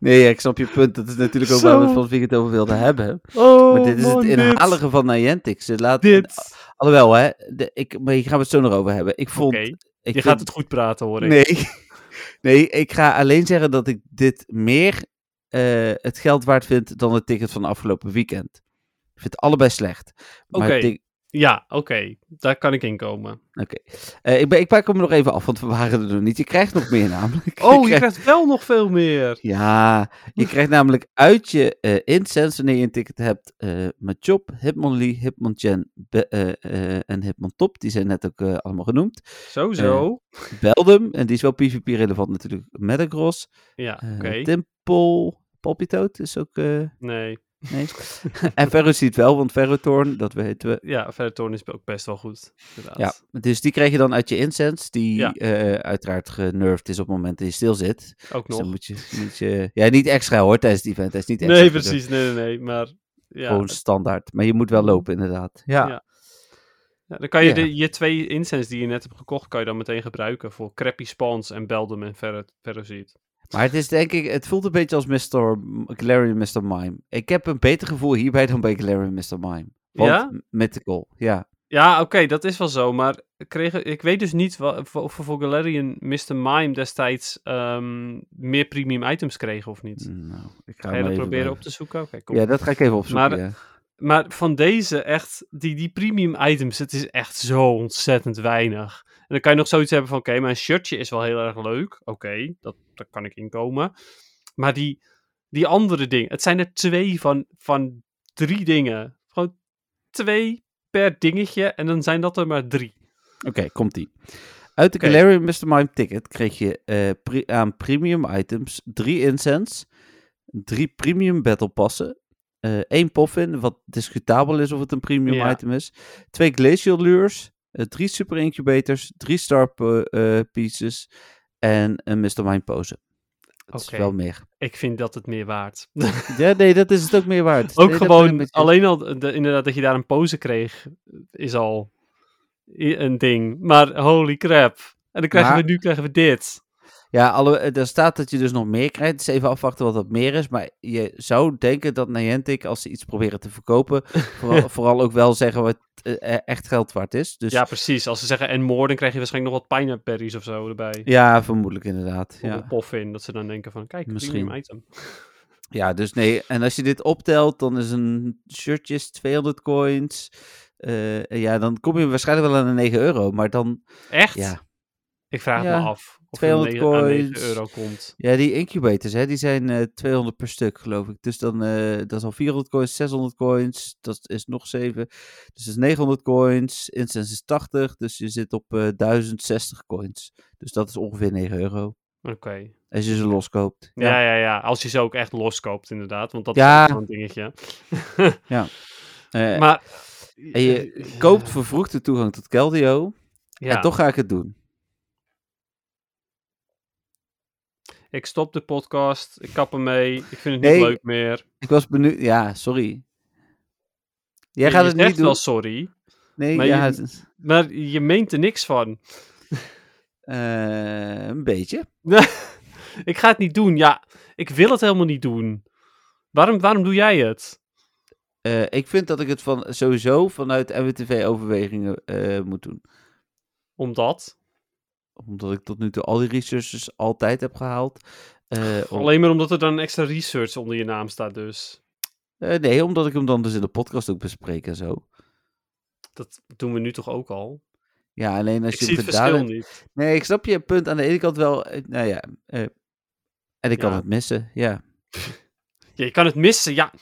A: Nee, ja, ik snap je punt. Dat is natuurlijk ook
D: Zo.
A: waar we het van het weekend over wilden hebben.
D: Oh,
A: maar dit is het
D: man,
A: inhalige van Niantic. Ze laten...
D: Dit.
A: Alhoewel, hè. De, ik, maar hier gaan we het zo nog over hebben. Ik vond...
D: Oké,
A: ik
D: je
A: vind-
D: gaat het goed praten, hoor ik.
A: Nee. nee, ik ga alleen zeggen dat ik dit meer eh, het geld waard vind dan het ticket van afgelopen weekend. Ik vind het allebei slecht. Maar
D: Oké.
A: het ding-
D: Ja, oké. Daar kan ik in komen.
A: Oké. Eh, ik, ben- ik pak hem nog even af, want we waren er nog niet. Je krijgt nog meer namelijk.
D: Oh, je
A: krijgt-
D: krijgt wel nog veel meer.
A: Ja, je krijgt namelijk uit je eh incense wanneer je een ticket hebt. eh Machop, Hitmonlee, Hitmonchan Be- eh, eh, en Hitmontop. Die zijn net ook eh, allemaal genoemd.
D: Sowieso.
A: Beldum, en die is wel PvP relevant natuurlijk. Metagross,
D: Ja, oké.
A: eh Temple, Palpitoad is ook... eh,
D: Nee.
A: nee. en Ferro ziet wel, want Ferrothorn, dat weten we.
D: Ja, Verdertoorn is ook best wel goed. Inderdaad.
A: Ja, dus die krijg je dan uit je incense, die
D: Ja.
A: eh, uiteraard genurfd is op het moment dat je stil zit.
D: Ook
A: Dus
D: nog.
A: dan moet je, moet je... Ja, niet extra hoor, tijdens het event. Het is niet extra.
D: nee,
A: gedurfd.
D: precies. Nee, nee, nee. Maar ja,
A: Gewoon standaard. Maar je moet wel lopen, inderdaad. Ja.
D: Ja. ja, dan kan je
A: ja.
D: de, je twee incense die je net hebt gekocht, kan je dan meteen gebruiken voor Crappy Spawns en Beldum en Ferro- Ferrozeet.
A: Maar het is denk ik... Het voelt een beetje als Mr. M- Larry en Mr. Mime. Ik heb een beter gevoel hierbij dan bij Larry en Mr. Mime. Want
D: Ja?
A: m- Mythical, ja.
D: Ja, oké, dat is wel zo. Maar kregen, ik weet dus niet wa- of we voor Galarian Mr. Mime destijds ehm, meer premium items kregen of niet.
A: Nou, ik ga
D: Ga je
A: hem
D: dat
A: even
D: proberen
A: bij-
D: op te zoeken? Oké, cool.
A: Ja, dat ga ik even opzoeken,
D: Maar-
A: ja.
D: Maar van deze echt, die, die premium items, het is echt zo ontzettend weinig. En dan kan je nog zoiets hebben van, oké, mijn shirtje is wel heel erg leuk. Oké, dat, daar kan ik inkomen. Maar die, die andere dingen, het zijn er twee van, van drie dingen. Gewoon twee per dingetje en dan zijn dat er maar drie.
A: Oké, komt-ie. Uit de
D: Oké.
A: Galarian Mr. Mime ticket kreeg je eh, pri- aan premium items drie incense, drie premium battle passen, eh één poffin, wat discutabel is of het een premium
D: Ja.
A: item is, twee glacial lures, eh, drie super incubators, drie star po- eh, pieces en een Mr. Mime pose. Het
D: Oké.
A: is wel meer.
D: Ik vind dat het meer waard.
A: Ja, nee, dat is het ook meer waard.
D: Ook
A: Nee, dat ben ik
D: gewoon,
A: met je.
D: alleen al de, inderdaad dat je daar een pose kreeg, is al i- een ding. Maar holy crap. En dan krijgen
A: Maar-
D: we nu krijgen we dit.
A: Ja, alle, er staat dat je dus nog meer krijgt. Dus even afwachten wat dat meer is. Maar je zou denken dat Niantic, als ze iets proberen te verkopen, vooral, vooral ook wel zeggen wat eh, eh, echt geld waard is. Dus
D: Ja,
A: ja,
D: precies. Als ze zeggen en more, dan krijg je waarschijnlijk nog wat pineapple berries of zo erbij.
A: vermoedelijk inderdaad.
D: Of
A: Ja.
D: een pof in, dat ze dan denken van, kijk,
A: Misschien.
D: Misschien. item.
A: ja, dus nee. En als je dit optelt, dan is een shirtje is 200 coins. Eh, ja, dan kom je waarschijnlijk wel aan de 9 euro. Maar dan,
D: Echt?
A: ja.
D: Ik vraag
A: Ja,
D: het me af of het aan
A: 200
D: 9 aan 9
A: coins.
D: euro komt.
A: Ja, die incubators, hè, die zijn eh, 200 per stuk, geloof ik. Dus dan, eh, dat is al 400 coins, 600 coins, dat is nog 7. Dus dat is 900 coins, instance is 80, dus je zit op eh 1060 coins. Dus dat is ongeveer 9 euro,
D: Oké.
A: als je ze loskoopt.
D: Ja. ja, ja, Als je ze ook echt loskoopt, inderdaad. Want dat
A: Ja.
D: is ook zo'n dingetje.
A: Eh,
D: maar... eh,
A: en je koopt vervroegde toegang tot Keldeo,
D: Ja,
A: en toch ga ik het doen.
D: ik stop de podcast. Ik kap ermee. Ik vind het
A: Nee.
D: niet leuk meer.
A: Ik was benieuwd, ja, sorry. Jij
D: Je-
A: gaat
D: je
A: het niet
D: zegt
A: doen.
D: wel sorry,
A: Nee,
D: maar
A: ja,
D: je-
A: het-
D: maar je meent er niks van.
A: eh, een beetje.
D: ik ga het niet doen. Ja, ik wil het helemaal niet doen. Waarom, waarom doe jij het?
A: Eh, ik vind dat ik het van, sowieso vanuit MWTV-overwegingen eh, moet doen.
D: Omdat?
A: Omdat ik tot nu toe al die resources altijd heb gehaald. Eh, om-
D: Alleen maar omdat er dan een extra research onder je naam staat dus.
A: Eh, nee, omdat ik hem dan dus in de podcast ook bespreek en zo.
D: Dat doen we nu toch ook al?
A: Ja, alleen als
D: Ik
A: je
D: zie het
A: hem gedaan
D: verschil
A: hebt-
D: niet.
A: Nee, ik snap je punt aan de ene kant wel. eh, nou ja. eh, en ik kan
D: Ja.
A: het missen, ja.
D: Ja, je kan het missen. Ja,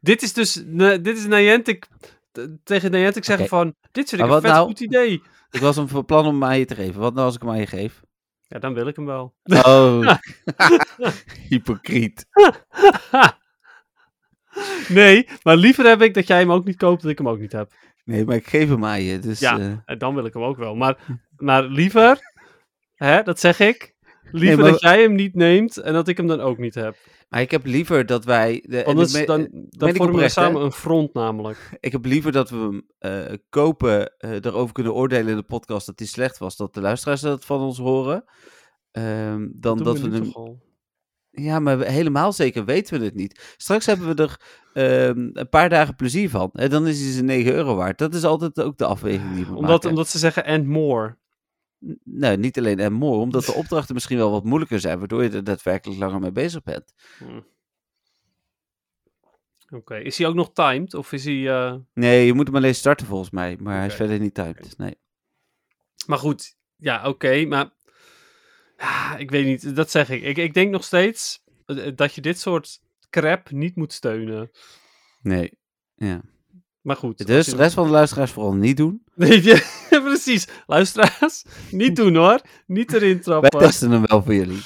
D: dit is dus... ne- dit is Niantic... t- tegen Niantic zeggen
A: Oké.
D: van... Dit vind
A: Maar
D: ik
A: wat
D: een vet
A: nou-
D: goed idee.
A: Ik was hem van plan om hem aan je te geven. Wat nou als ik hem aan je geef?
D: Ja, dan wil ik hem wel.
A: Oh. Hypocriet.
D: nee, maar liever heb ik dat jij hem ook niet koopt... dan ik hem ook niet heb.
A: Nee, maar ik geef hem aan je. Dus,
D: Ja,
A: eh,
D: En dan wil ik hem ook wel.
A: Hm.
D: Maar, maar liever... Hè, dat zeg ik. Liever
A: maar-
D: dat jij hem niet neemt... en dat ik hem dan ook niet heb.
A: Maar ik heb liever dat wij... De, en ik
D: Anders
A: me- eh,
D: dan, dan
A: ik
D: vormen we
A: oprecht, hè?
D: samen een front namelijk.
A: Ik heb liever dat we hem eh, kopen, eh erover kunnen oordelen in de podcast dat hij slecht was, dat de luisteraars dat van ons horen. ehm, dan
D: Doen
A: dat we,
D: nu
A: hem.
D: toch al.
A: Ja, maar we- helemaal zeker weten we het niet. Straks hebben we er ehm, een paar dagen plezier van. En dan is hij zijn 9 euro waard. Dat is altijd ook de afweging die we
D: Omdat,
A: maken.
D: omdat ze zeggen and more.
A: N- Nou, niet alleen en mooi, omdat de opdrachten misschien wel wat moeilijker zijn, waardoor je er daadwerkelijk langer mee bezig bent.
D: Oké, is hij ook nog timed? Of is hij... eh,
A: Nee, je moet hem alleen starten volgens mij, maar hij is
D: Oké.
A: verder niet timed. Nee.
D: Maar goed, ja, oké, maar Ah, ik weet niet, dat zeg ik. ik. Ik denk nog steeds eh, dat je dit soort crap niet moet steunen.
A: Nee.
D: Maar goed.
A: Dus
D: als
A: de
D: je-
A: rest van de luisteraars vooral niet doen.
D: Nee, ja, precies. Luisteraars, niet doen hoor. Niet erin
A: Wij
D: trappen.
A: testen hem wel voor jullie.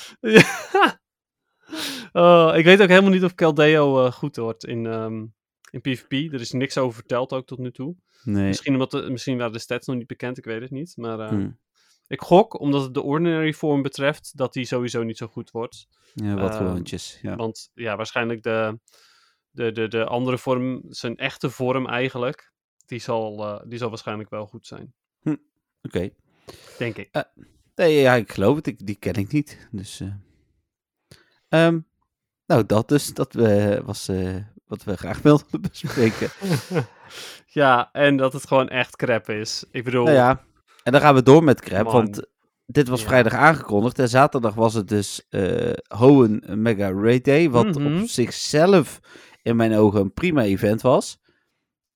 D: Oh, ik weet ook helemaal niet of Caldeo eh, goed wordt in, ehm, in PvP. Er is niks over verteld ook tot nu toe.
A: Nee.
D: Misschien, omdat de- misschien waren de stats nog niet bekend, ik weet het niet. Maar eh,
A: Hmm.
D: ik gok, omdat het de ordinary vorm betreft, dat die sowieso niet zo goed wordt.
A: Ja, wat
D: Ehm,
A: gewoontjes. Ja.
D: Want ja, waarschijnlijk de, de, de, de andere vorm, zijn echte vorm eigenlijk, die zal, eh, die zal waarschijnlijk wel goed zijn.
A: Oké.
D: Denk ik.
A: Nee, ja, ik geloof het. Ik, die ken ik niet. Dus. eh. Ehm, nou, dat dus. Dat eh, was eh, wat we graag wilden bespreken.
D: Ja, en dat het gewoon echt crap is. Ik bedoel,
A: nou ja. En dan gaan we door met crap.
D: Man.
A: Want dit was
D: Ja.
A: vrijdag aangekondigd. En zaterdag was het dus eh Hohen Mega Raid Day. Wat
D: Mhm.
A: op zichzelf in mijn ogen een prima event was.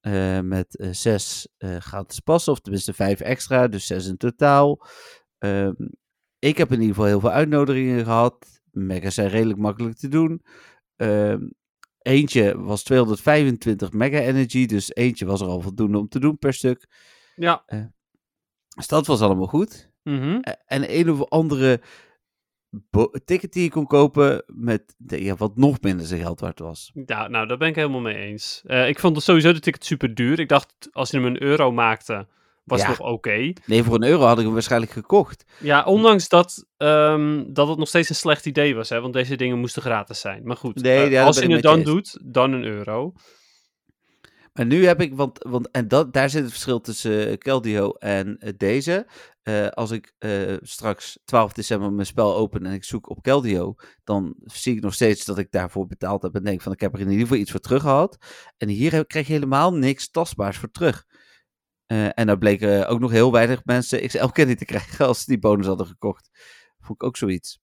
A: Eh, met eh, zes eh, gratis passen, of tenminste vijf extra, dus zes in totaal. Ehm, ik heb in ieder geval heel veel uitnodigingen gehad. Mega's zijn redelijk makkelijk te doen. Ehm, eentje was 225 mega energy, dus eentje was er al voldoende om te doen per stuk.
D: Ja.
A: Eh, dus dat was allemaal goed.
D: mhm.
A: Eh, en een of andere bo- ticket die je kon kopen met de- ja, wat nog minder zijn geld waard was.
D: ja, nou, daar ben ik helemaal mee eens. Eh, ik vond het sowieso de ticket super duur. Ik dacht, als je hem een euro maakte, was
A: Ja.
D: nog oké.
A: Nee, voor een euro had ik hem waarschijnlijk gekocht.
D: Ja, ondanks dat, ehm, dat het nog steeds een slecht idee was, hè, want deze dingen moesten gratis zijn. Maar goed,
A: Nee,
D: eh,
A: ja, dat
D: als
A: ben
D: je
A: ik
D: het
A: met je
D: dan
A: eens.
D: doet, dan een euro.
A: Maar nu heb ik, want, want en dat, daar zit het verschil tussen eh, Keldeo en eh, deze. Eh, als ik eh, straks 12 december mijn spel open en ik zoek op Keldeo, dan zie ik nog steeds dat ik daarvoor betaald heb en denk van ik heb er in ieder geval iets voor terug gehad. En hier heb- krijg je helemaal niks tastbaars voor terug. Eh, en daar bleken eh, ook nog heel weinig mensen XL Candy te krijgen als ze die bonus hadden gekocht. Vond ik ook zoiets.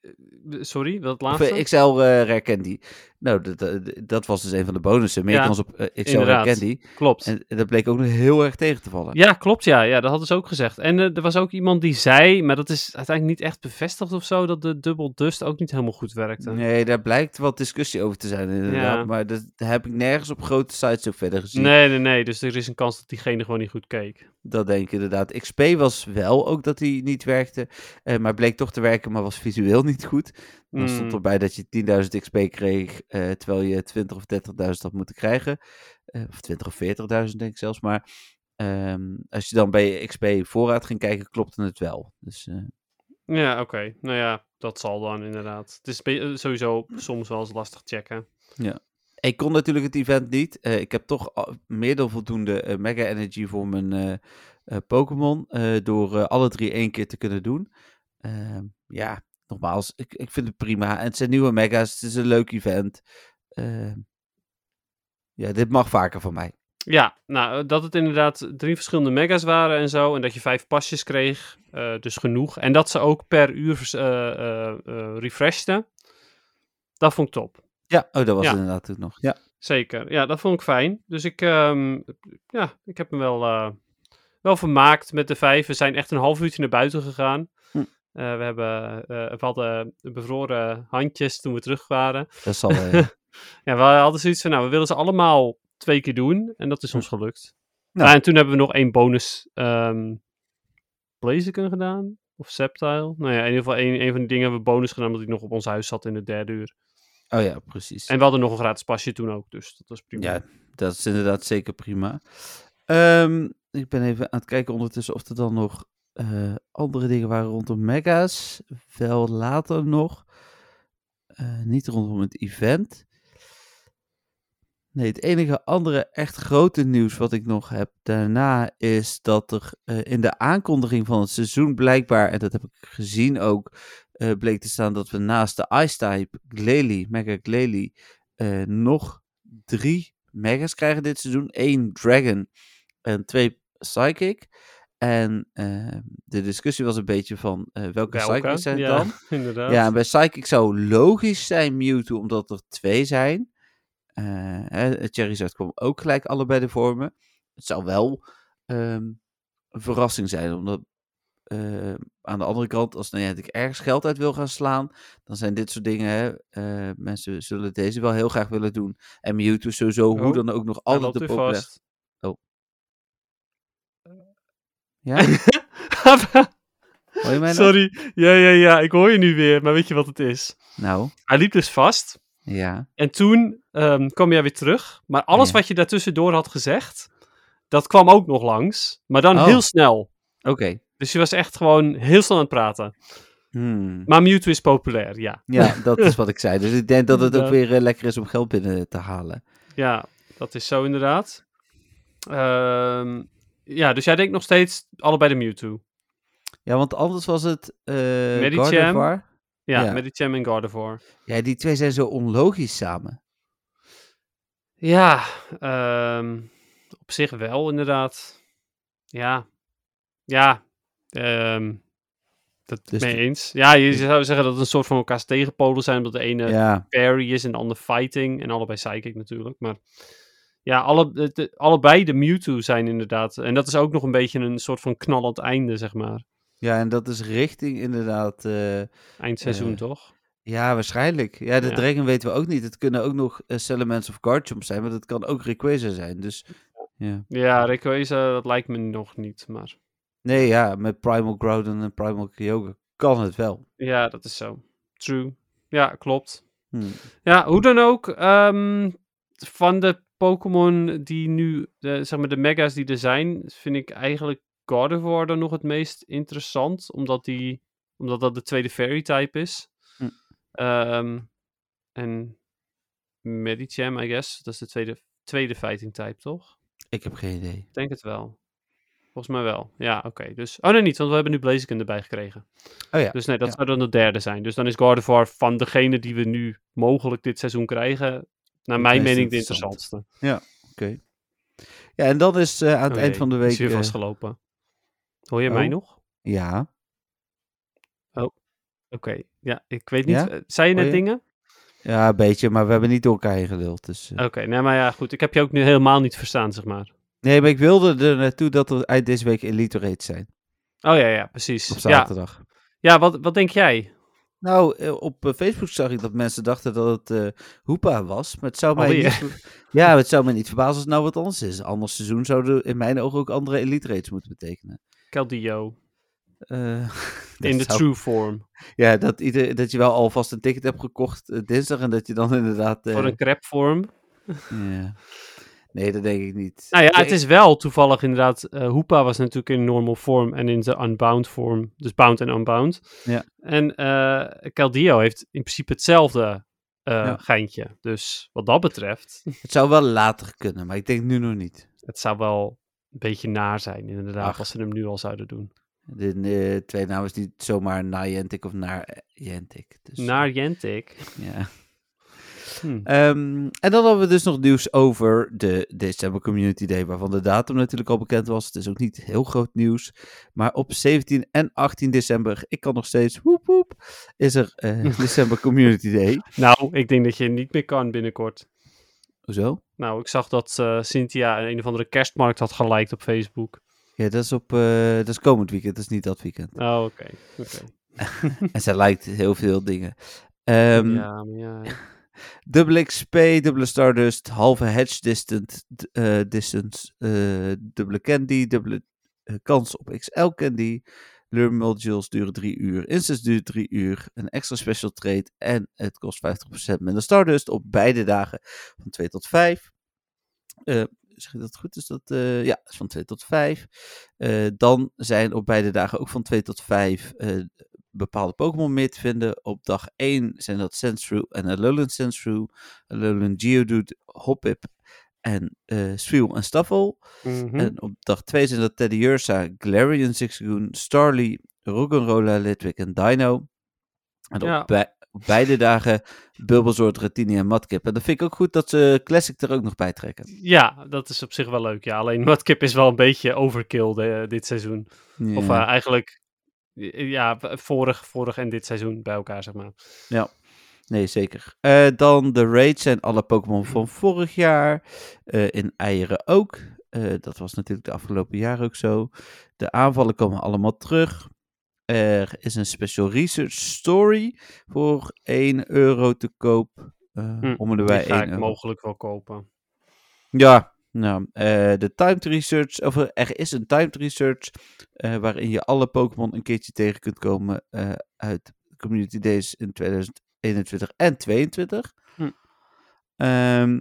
D: Eh, Sorry, wat het
A: Of
D: laatste?
A: eh, XL eh, Rare Candy. Nou, dat, dat, dat was dus een van de bonussen. Meer
D: Ja,
A: kans op eh, XL
D: inderdaad.
A: Rare Candy.
D: Klopt.
A: En dat bleek ook nog heel erg tegen te vallen.
D: Ja, klopt ja. ja. Dat hadden ze ook gezegd. En eh, er was ook iemand die zei, maar dat is uiteindelijk niet echt bevestigd of zo, dat de dubbel dust ook niet helemaal goed werkte.
A: Nee, daar blijkt wat discussie over te zijn inderdaad.
D: Ja.
A: Maar dat heb ik nergens op grote sites ook verder gezien.
D: Nee, nee, nee. Dus er is een kans dat diegene gewoon niet goed keek.
A: Dat denk ik inderdaad. XP was wel ook dat hij niet werkte. eh, maar bleek toch te werken, maar was visueel niet goed. Dan
D: Mm.
A: stond erbij dat je 10.000 XP kreeg, eh, terwijl je 20 of 30.000 had moeten krijgen. Eh, of 20 of 40.000 denk ik zelfs. Maar ehm, als je dan bij XP voorraad ging kijken, klopte het wel. Dus eh,
D: Ja, oké. Nou ja, dat zal dan inderdaad. Het is be- eh, sowieso soms wel eens lastig checken.
A: Ik kon natuurlijk het event niet. Eh, ik heb toch al- meer dan voldoende eh, Mega Energy voor mijn eh, eh, Pokémon. eh, door eh, alle drie één keer te kunnen doen. Ehm, ja, nogmaals, ik, ik vind het prima. En het zijn nieuwe Mega's. Het is een leuk event. Ehm, ja, dit mag vaker van mij.
D: Ja, nou, eh, dat het inderdaad drie verschillende mega's waren en zo. En dat je vijf pasjes kreeg, eh, dus genoeg. En dat ze ook per uur vers- eh, eh, eh, refreshten. Dat vond ik top.
A: Ja, oh, dat was
D: Ja.
A: het inderdaad ook nog. Ja.
D: Zeker, ja, dat vond ik fijn. Dus ik, ehm, ja, ik heb me wel, eh, wel vermaakt met de vijf. We zijn echt een half uurtje naar buiten gegaan.
A: Hm.
D: Eh, we, hebben, eh, we hadden bevroren handjes toen we terug waren.
A: Dat zal eh,
D: Ja, we hadden zoiets van, nou, we willen ze allemaal twee keer doen. En dat is ons gelukt.
A: Nou.
D: Ah, en toen hebben we nog één bonus ehm Blaziken gedaan. Of Sceptile. Nou ja, in ieder geval één, één van die dingen hebben we bonus gedaan... omdat ik nog op ons huis zat in de derde uur.
A: Oh ja, precies.
D: En we hadden nog een gratis pasje toen ook, dus dat was prima.
A: Ja, dat is inderdaad zeker prima. Ehm, ik ben even aan het kijken ondertussen of er dan nog eh, andere dingen waren rondom Mega's. Wel later nog. Eh, niet rondom het event. Nee, het enige andere echt grote nieuws wat ik nog heb daarna is dat er eh, in de aankondiging van het seizoen blijkbaar, en dat heb ik gezien ook, eh, bleek te staan dat we naast de Ice-type Glalie, Mega Glalie, eh, nog drie megas krijgen dit seizoen. één Dragon en twee Psychic. En eh, de discussie was een beetje van eh, welke, Psychic zijn het
D: ja,
A: dan?
D: inderdaad.
A: Ja, en bij Psychic zou logisch zijn Mewtwo, omdat er twee zijn. Eh, hè, Charizard kwam ook gelijk allebei de vormen. Het zou wel ehm, een verrassing zijn, omdat eh, aan de andere kant, als nou ja, ik ergens geld uit wil gaan slaan, dan zijn dit soort dingen, hè, eh, mensen zullen deze wel heel graag willen doen. En Mewtwo is sowieso,
D: Oh,
A: hoe dan ook, nog
D: Hij
A: altijd de
D: loopt weer
A: populair.
D: vast.
A: Ja, hoor je mij nou?
D: Sorry. Ja, ja, ja. Ik hoor je nu weer, maar weet je wat het is?
A: Nou,
D: Hij liep dus vast.
A: ja.
D: En toen ehm, kwam jij weer terug. Maar alles
A: Ja.
D: wat je daartussendoor had gezegd, dat kwam ook nog langs. Maar dan
A: Oh.
D: heel snel.
A: Oké.
D: Dus je was echt gewoon heel snel aan het praten.
A: Hmm.
D: Maar Mewtwo is populair, ja.
A: Ja, dat is wat ik zei. Dus ik denk dat het ook
D: Inderdaad.
A: weer eh, lekker is om geld binnen te halen.
D: Ja, dat is zo inderdaad. Ehm, ja, dus jij denkt nog steeds allebei de Mewtwo.
A: Ja, want anders was het eh
D: Medicham.
A: Gardevoir.
D: Ja,
A: Ja.
D: met die Cham en Gardevoir.
A: Ja, die twee zijn zo onlogisch samen.
D: Ja, ehm, op zich wel inderdaad. Ja, ja, ehm, dat
A: Dus
D: mee
A: de-
D: eens. Ja, je
A: dus-
D: zou zeggen dat het een soort van elkaars tegenpolen zijn, omdat de ene
A: ja,
D: parry is en de ander fighting en allebei psychic natuurlijk. Maar ja, alle, de- de- allebei de Mewtwo zijn inderdaad. En dat is ook nog een beetje een soort van knallend einde, zeg maar.
A: ja, en dat is richting inderdaad. eh,
D: Eindseizoen
A: Eh,
D: toch?
A: ja, waarschijnlijk. Ja, de
D: Ja.
A: Dragon weten we ook niet. Het kunnen ook nog eh, Salamence of Garchomp zijn, maar dat kan ook Rayquaza zijn. Dus ja.
D: Ja, Rayquaza, dat lijkt me nog niet, maar
A: Nee, ja, met Primal Groudon en Primal Kyogre kan het wel.
D: ja, dat is zo. True. Ja, klopt.
A: Hm.
D: Ja, hoe dan ook. ehm, van de Pokémon die nu, eh, zeg maar de mega's die er zijn, vind ik eigenlijk Gardevoir dan nog het meest interessant. Omdat, die, omdat dat de tweede Fairy-type is.
A: Hm.
D: Ehm, en Medicham, I guess. Dat is de tweede, tweede Fighting-type, toch?
A: Ik heb geen idee.
D: Ik denk het wel. Volgens mij wel. Ja, oké. Dus... Oh, nee, niet. Want we hebben nu Blaziken erbij gekregen.
A: Oh ja,
D: Dus nee, dat
A: ja.
D: zou dan de derde zijn. Dus dan is Gardevoir van degene die we nu mogelijk dit seizoen krijgen... naar mijn
A: meest
D: mening de
A: interessant.
D: interessantste.
A: Ja, en dat is eh, aan het
D: Oh
A: eind
D: jee,
A: van de
D: is
A: week.
D: weer
A: eh,
D: vastgelopen. Hoor je
A: oh.
D: mij nog? Oké.
A: ja.
D: Ja, ik weet niet.
A: Ja?
D: eh, Zei je
A: Hoor
D: net
A: je?
D: dingen?
A: ja, een beetje, maar we hebben niet door elkaar heen geduld. Dus, eh.
D: Oké, nee, maar ja, goed. Ik heb je ook nu helemaal niet verstaan, zeg maar.
A: Nee, maar ik wilde er naartoe dat er eind deze week Elite Raids zijn.
D: Oh ja, ja,
A: Op
D: precies. Ja,
A: zaterdag.
D: ja wat, wat denk jij?
A: Nou, eh, op eh, Facebook zag ik dat mensen dachten dat het eh Hoepa was. Maar het zou mij
D: Alweer.
A: niet, ver- ja, maar het zou mij niet verbazen als het nou wat anders is. Een ander seizoen zouden in mijn ogen ook andere Elite Raids moeten betekenen.
D: Caldio.
A: Eh, dat
D: In de
A: zou-
D: true form.
A: Ja, dat, ieder, dat je wel alvast een ticket hebt gekocht eh, dinsdag en dat je dan inderdaad... eh,
D: Voor een crap vorm.
A: ja. Nee, dat denk ik niet.
D: Nou ja,
A: Nee,
D: het is wel toevallig inderdaad. eh Hoepa was natuurlijk in normal vorm en in de unbound vorm. Dus bound en unbound.
A: Ja.
D: En eh Caldio heeft in principe hetzelfde eh,
A: Ja.
D: geintje. Dus wat dat betreft,
A: Het zou wel later kunnen, maar ik denk nu nog niet.
D: het zou wel een beetje naar zijn inderdaad
A: Ach.
D: als ze hem nu al zouden doen.
A: De eh, twee namen is niet zomaar Niantic of naar Niantic. Dus,
D: Naar Jentik.
A: Ja.
D: Hm.
A: Ehm, en dan hadden we dus nog nieuws over de December Community Day, waarvan de datum natuurlijk al bekend was. Het is ook niet heel groot nieuws. Maar op 17 en 18 december, ik kan nog steeds, woep woep, is er eh, December Community Day.
D: Nou, ik denk dat je niet meer kan binnenkort.
A: Hoezo?
D: Nou, ik zag dat eh, Cynthia een of andere kerstmarkt had geliked op Facebook.
A: Ja, dat is, op, eh, dat is komend weekend, dat is niet dat weekend.
D: Oh, oké. oké.
A: En zij lijkt heel veel dingen. Ehm
D: ja, maar ja.
A: Double XP, dubbele Stardust, halve Hedge distant, d- eh, Distance, eh, dubbele Candy, dubbele eh, kans op XL Candy. Lure modules duren 3 uur, instants duurt 3 uur, een extra special trade en het kost 50% minder Stardust op beide dagen van 2 tot 5. Eh, zeg ik dat goed? Is dat, eh, ja, is van 2 tot 5. Eh, dan zijn op beide dagen ook van 2 tot 5 eh, bepaalde Pokémon meer te vinden. Op dag 1 zijn dat Sandshrew en Alolan Sandshrew, Alolan Geodude, Hoppip en eh Swiel en Staffel.
D: Mhm.
A: En op dag 2 zijn dat Teddy Ursa, Galarian Sixgoon, Starly, Rock'n'Rolla, Litwick en Dino. En
D: Ja.
A: op, bij- op beide dagen Bulbasaur, Dratini en Mudkip. En dat vind ik ook goed dat ze Classic er ook nog bij trekken.
D: Ja, dat is op zich wel leuk. Ja, alleen Mudkip is wel een beetje overkill de- dit seizoen. Of eh, eigenlijk, eh, ja, vorig, vorig en dit seizoen bij elkaar, zeg maar.
A: Nee, zeker. Eh, dan de raids zijn alle Pokémon van vorig jaar. eh, in eieren ook. Eh, dat was natuurlijk de afgelopen jaar ook zo. De aanvallen komen allemaal terug. Er is een special research story voor 1 euro te koop. Eh,
D: Hm,
A: om en
D: Die
A: bij
D: ga
A: 1
D: ik
A: euro.
D: mogelijk wel kopen.
A: Ja, nou, eh, de timed research, of er- er is een timed research eh, waarin je alle Pokémon een keertje tegen kunt komen eh, uit Community Days in 2021 en 2022.
D: Hm.
A: Ehm,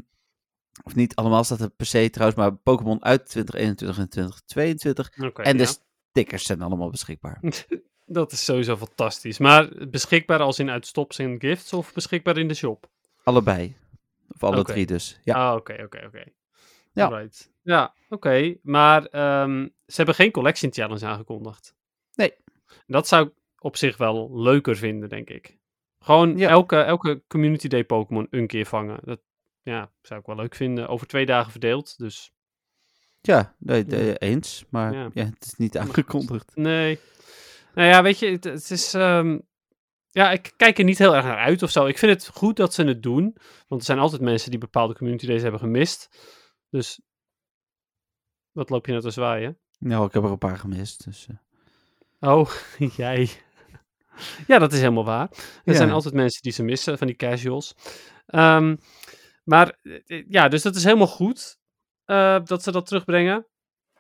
A: of niet allemaal staat er per se trouwens, maar Pokémon uit 2021 en 2022.
D: Oké,
A: en dus de
D: ja.
A: stickers zijn allemaal beschikbaar.
D: Dat is sowieso fantastisch. Maar beschikbaar als in uitstops en gifts of beschikbaar in de shop?
A: Allebei. Of alle
D: Oké.
A: drie dus. Ja.
D: Ah, oké, oké, oké.
A: Ja.
D: Alright. Ja, oké. Maar ehm, ze hebben geen collection challenge aangekondigd.
A: Nee.
D: Dat zou ik op zich wel leuker vinden, denk ik. Gewoon
A: Ja.
D: elke, elke Community Day Pokémon een keer vangen. Dat ja, zou ik wel leuk vinden. Over twee dagen verdeeld, dus
A: Ja, nee, de- eens. Maar
D: Ja.
A: ja. het is niet aangekondigd.
D: nee. Nou ja, weet je, het, het is... ehm, ja, ik kijk er niet heel erg naar uit of zo. Ik vind het goed dat ze het doen. Want er zijn altijd mensen die bepaalde Community Days hebben gemist. Dus wat loop je nou te zwaaien?
A: Nou, ik heb er een paar gemist. Dus, eh.
D: Oh, jij. Ja, dat is helemaal waar. Er
A: Ja.
D: zijn altijd mensen die ze missen, van die casuals. Ehm, maar eh, ja, dus dat is helemaal goed eh, dat ze dat terugbrengen.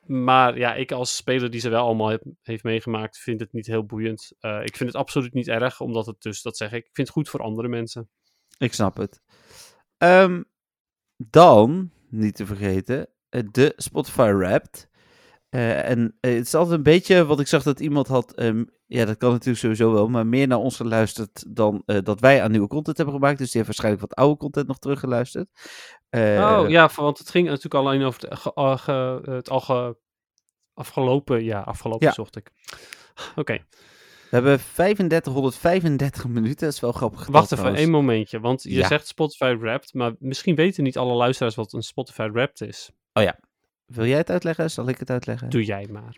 D: Maar ja, ik als speler die ze wel allemaal heb- heeft meegemaakt, vind het niet heel boeiend. Eh, ik vind het absoluut niet erg, omdat het dus, dat zeg ik, ik vind het goed voor andere mensen.
A: Ik snap het. Ehm, dan niet te vergeten. eh, de Spotify Wrapped. Eh, en eh, het is altijd een beetje, wat ik zag dat iemand had, ehm, ja dat kan natuurlijk sowieso wel, maar meer naar ons geluisterd dan eh, dat wij aan nieuwe content hebben gemaakt. Dus die heeft waarschijnlijk wat oude content nog teruggeluisterd. Eh,
D: oh ja, want het ging natuurlijk alleen over het, ge- eh, ge- het al ge- afgelopen, ja, afgelopen
A: Ja.
D: zocht ik. Oké,
A: We hebben 3535 minuten, dat is wel grappig. getal
D: wacht even
A: trouwens.
D: één momentje, want je
A: Ja.
D: zegt Spotify Wrapped, maar misschien weten niet alle luisteraars wat een Spotify Wrapped is.
A: Wil jij het uitleggen? Zal ik het uitleggen?
D: Doe jij maar.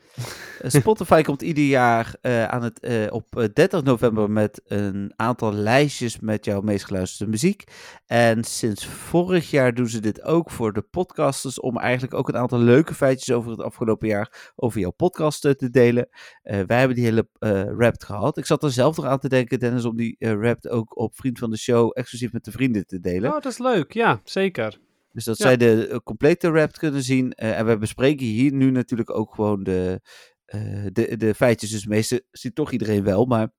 A: Eh, Spotify komt ieder jaar eh, aan het, eh, op eh, 30 november met een aantal lijstjes met jouw meest geluisterde muziek. En sinds vorig jaar doen ze dit ook voor de podcasters. Om eigenlijk ook een aantal leuke feitjes over het afgelopen jaar over jouw podcast eh, te delen. Eh, wij hebben die hele eh rap gehad. Ik zat er zelf nog aan te denken, Dennis, om die eh rap ook op Vriend van de Show exclusief met de vrienden te delen.
D: Oh, dat is leuk, ja, zeker.
A: Dus dat
D: Ja.
A: zij de eh, complete rap kunnen zien. Eh, en we bespreken hier nu natuurlijk ook gewoon de, eh, de, de feitjes. Dus meestal ziet toch iedereen wel. Maar het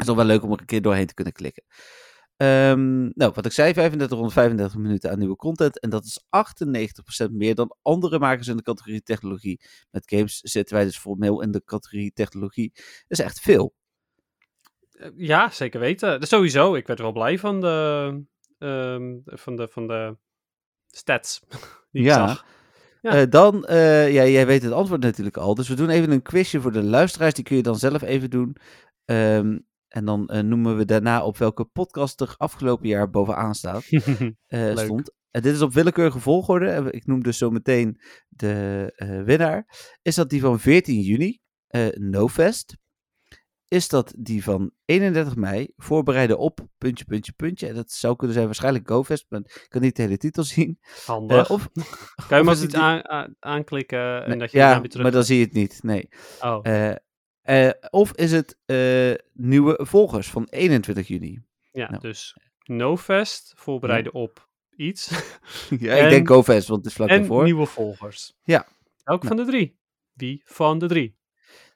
A: is dan wel leuk om er een keer doorheen te kunnen klikken. Ehm, nou, wat ik zei, 3535 minuten aan nieuwe content. En dat is 98% meer dan andere makers in de categorie technologie. Met games zitten wij dus formeel in de categorie technologie. Dat is echt veel.
D: Eh, Ja, zeker weten. Dat Sowieso, ik werd er wel blij van de, ehm, van de, van de stats die ik
A: Ja.
D: zag. Ja.
A: Eh, dan, eh, ja, jij weet het antwoord natuurlijk al. Dus we doen even een quizje voor de luisteraars. Die kun je dan zelf even doen. Ehm, en dan eh, noemen we daarna op welke podcast er afgelopen jaar bovenaan staat, eh,
D: Leuk.
A: stond. En dit is op willekeurige volgorde. En Ik noem dus zo meteen de eh, winnaar. Is dat die van 14 juni, eh NoFest? Is dat die van 31 mei, voorbereiden op, puntje, puntje, puntje. En dat zou kunnen zijn waarschijnlijk GoFest, maar ik kan niet de hele titel zien. Eh,
D: Handig.
A: of,
D: kan je
A: of
D: maar
A: is
D: iets
A: het
D: aan, aan- aanklikken en
A: Nee,
D: dat je
A: ja,
D: daarna weer terug...
A: maar dan zie je het niet, nee.
D: Oh,
A: Eh, eh, of is het eh, nieuwe volgers van 21 juni?
D: ja,
A: nou. Hm.
D: dus NoFest, voorbereiden op iets.
A: ja,
D: En-
A: ik denk GoFest, want het is vlak
D: en
A: daarvoor.
D: nieuwe volgers.
A: Ja.
D: Elk van de drie. Wie van de drie?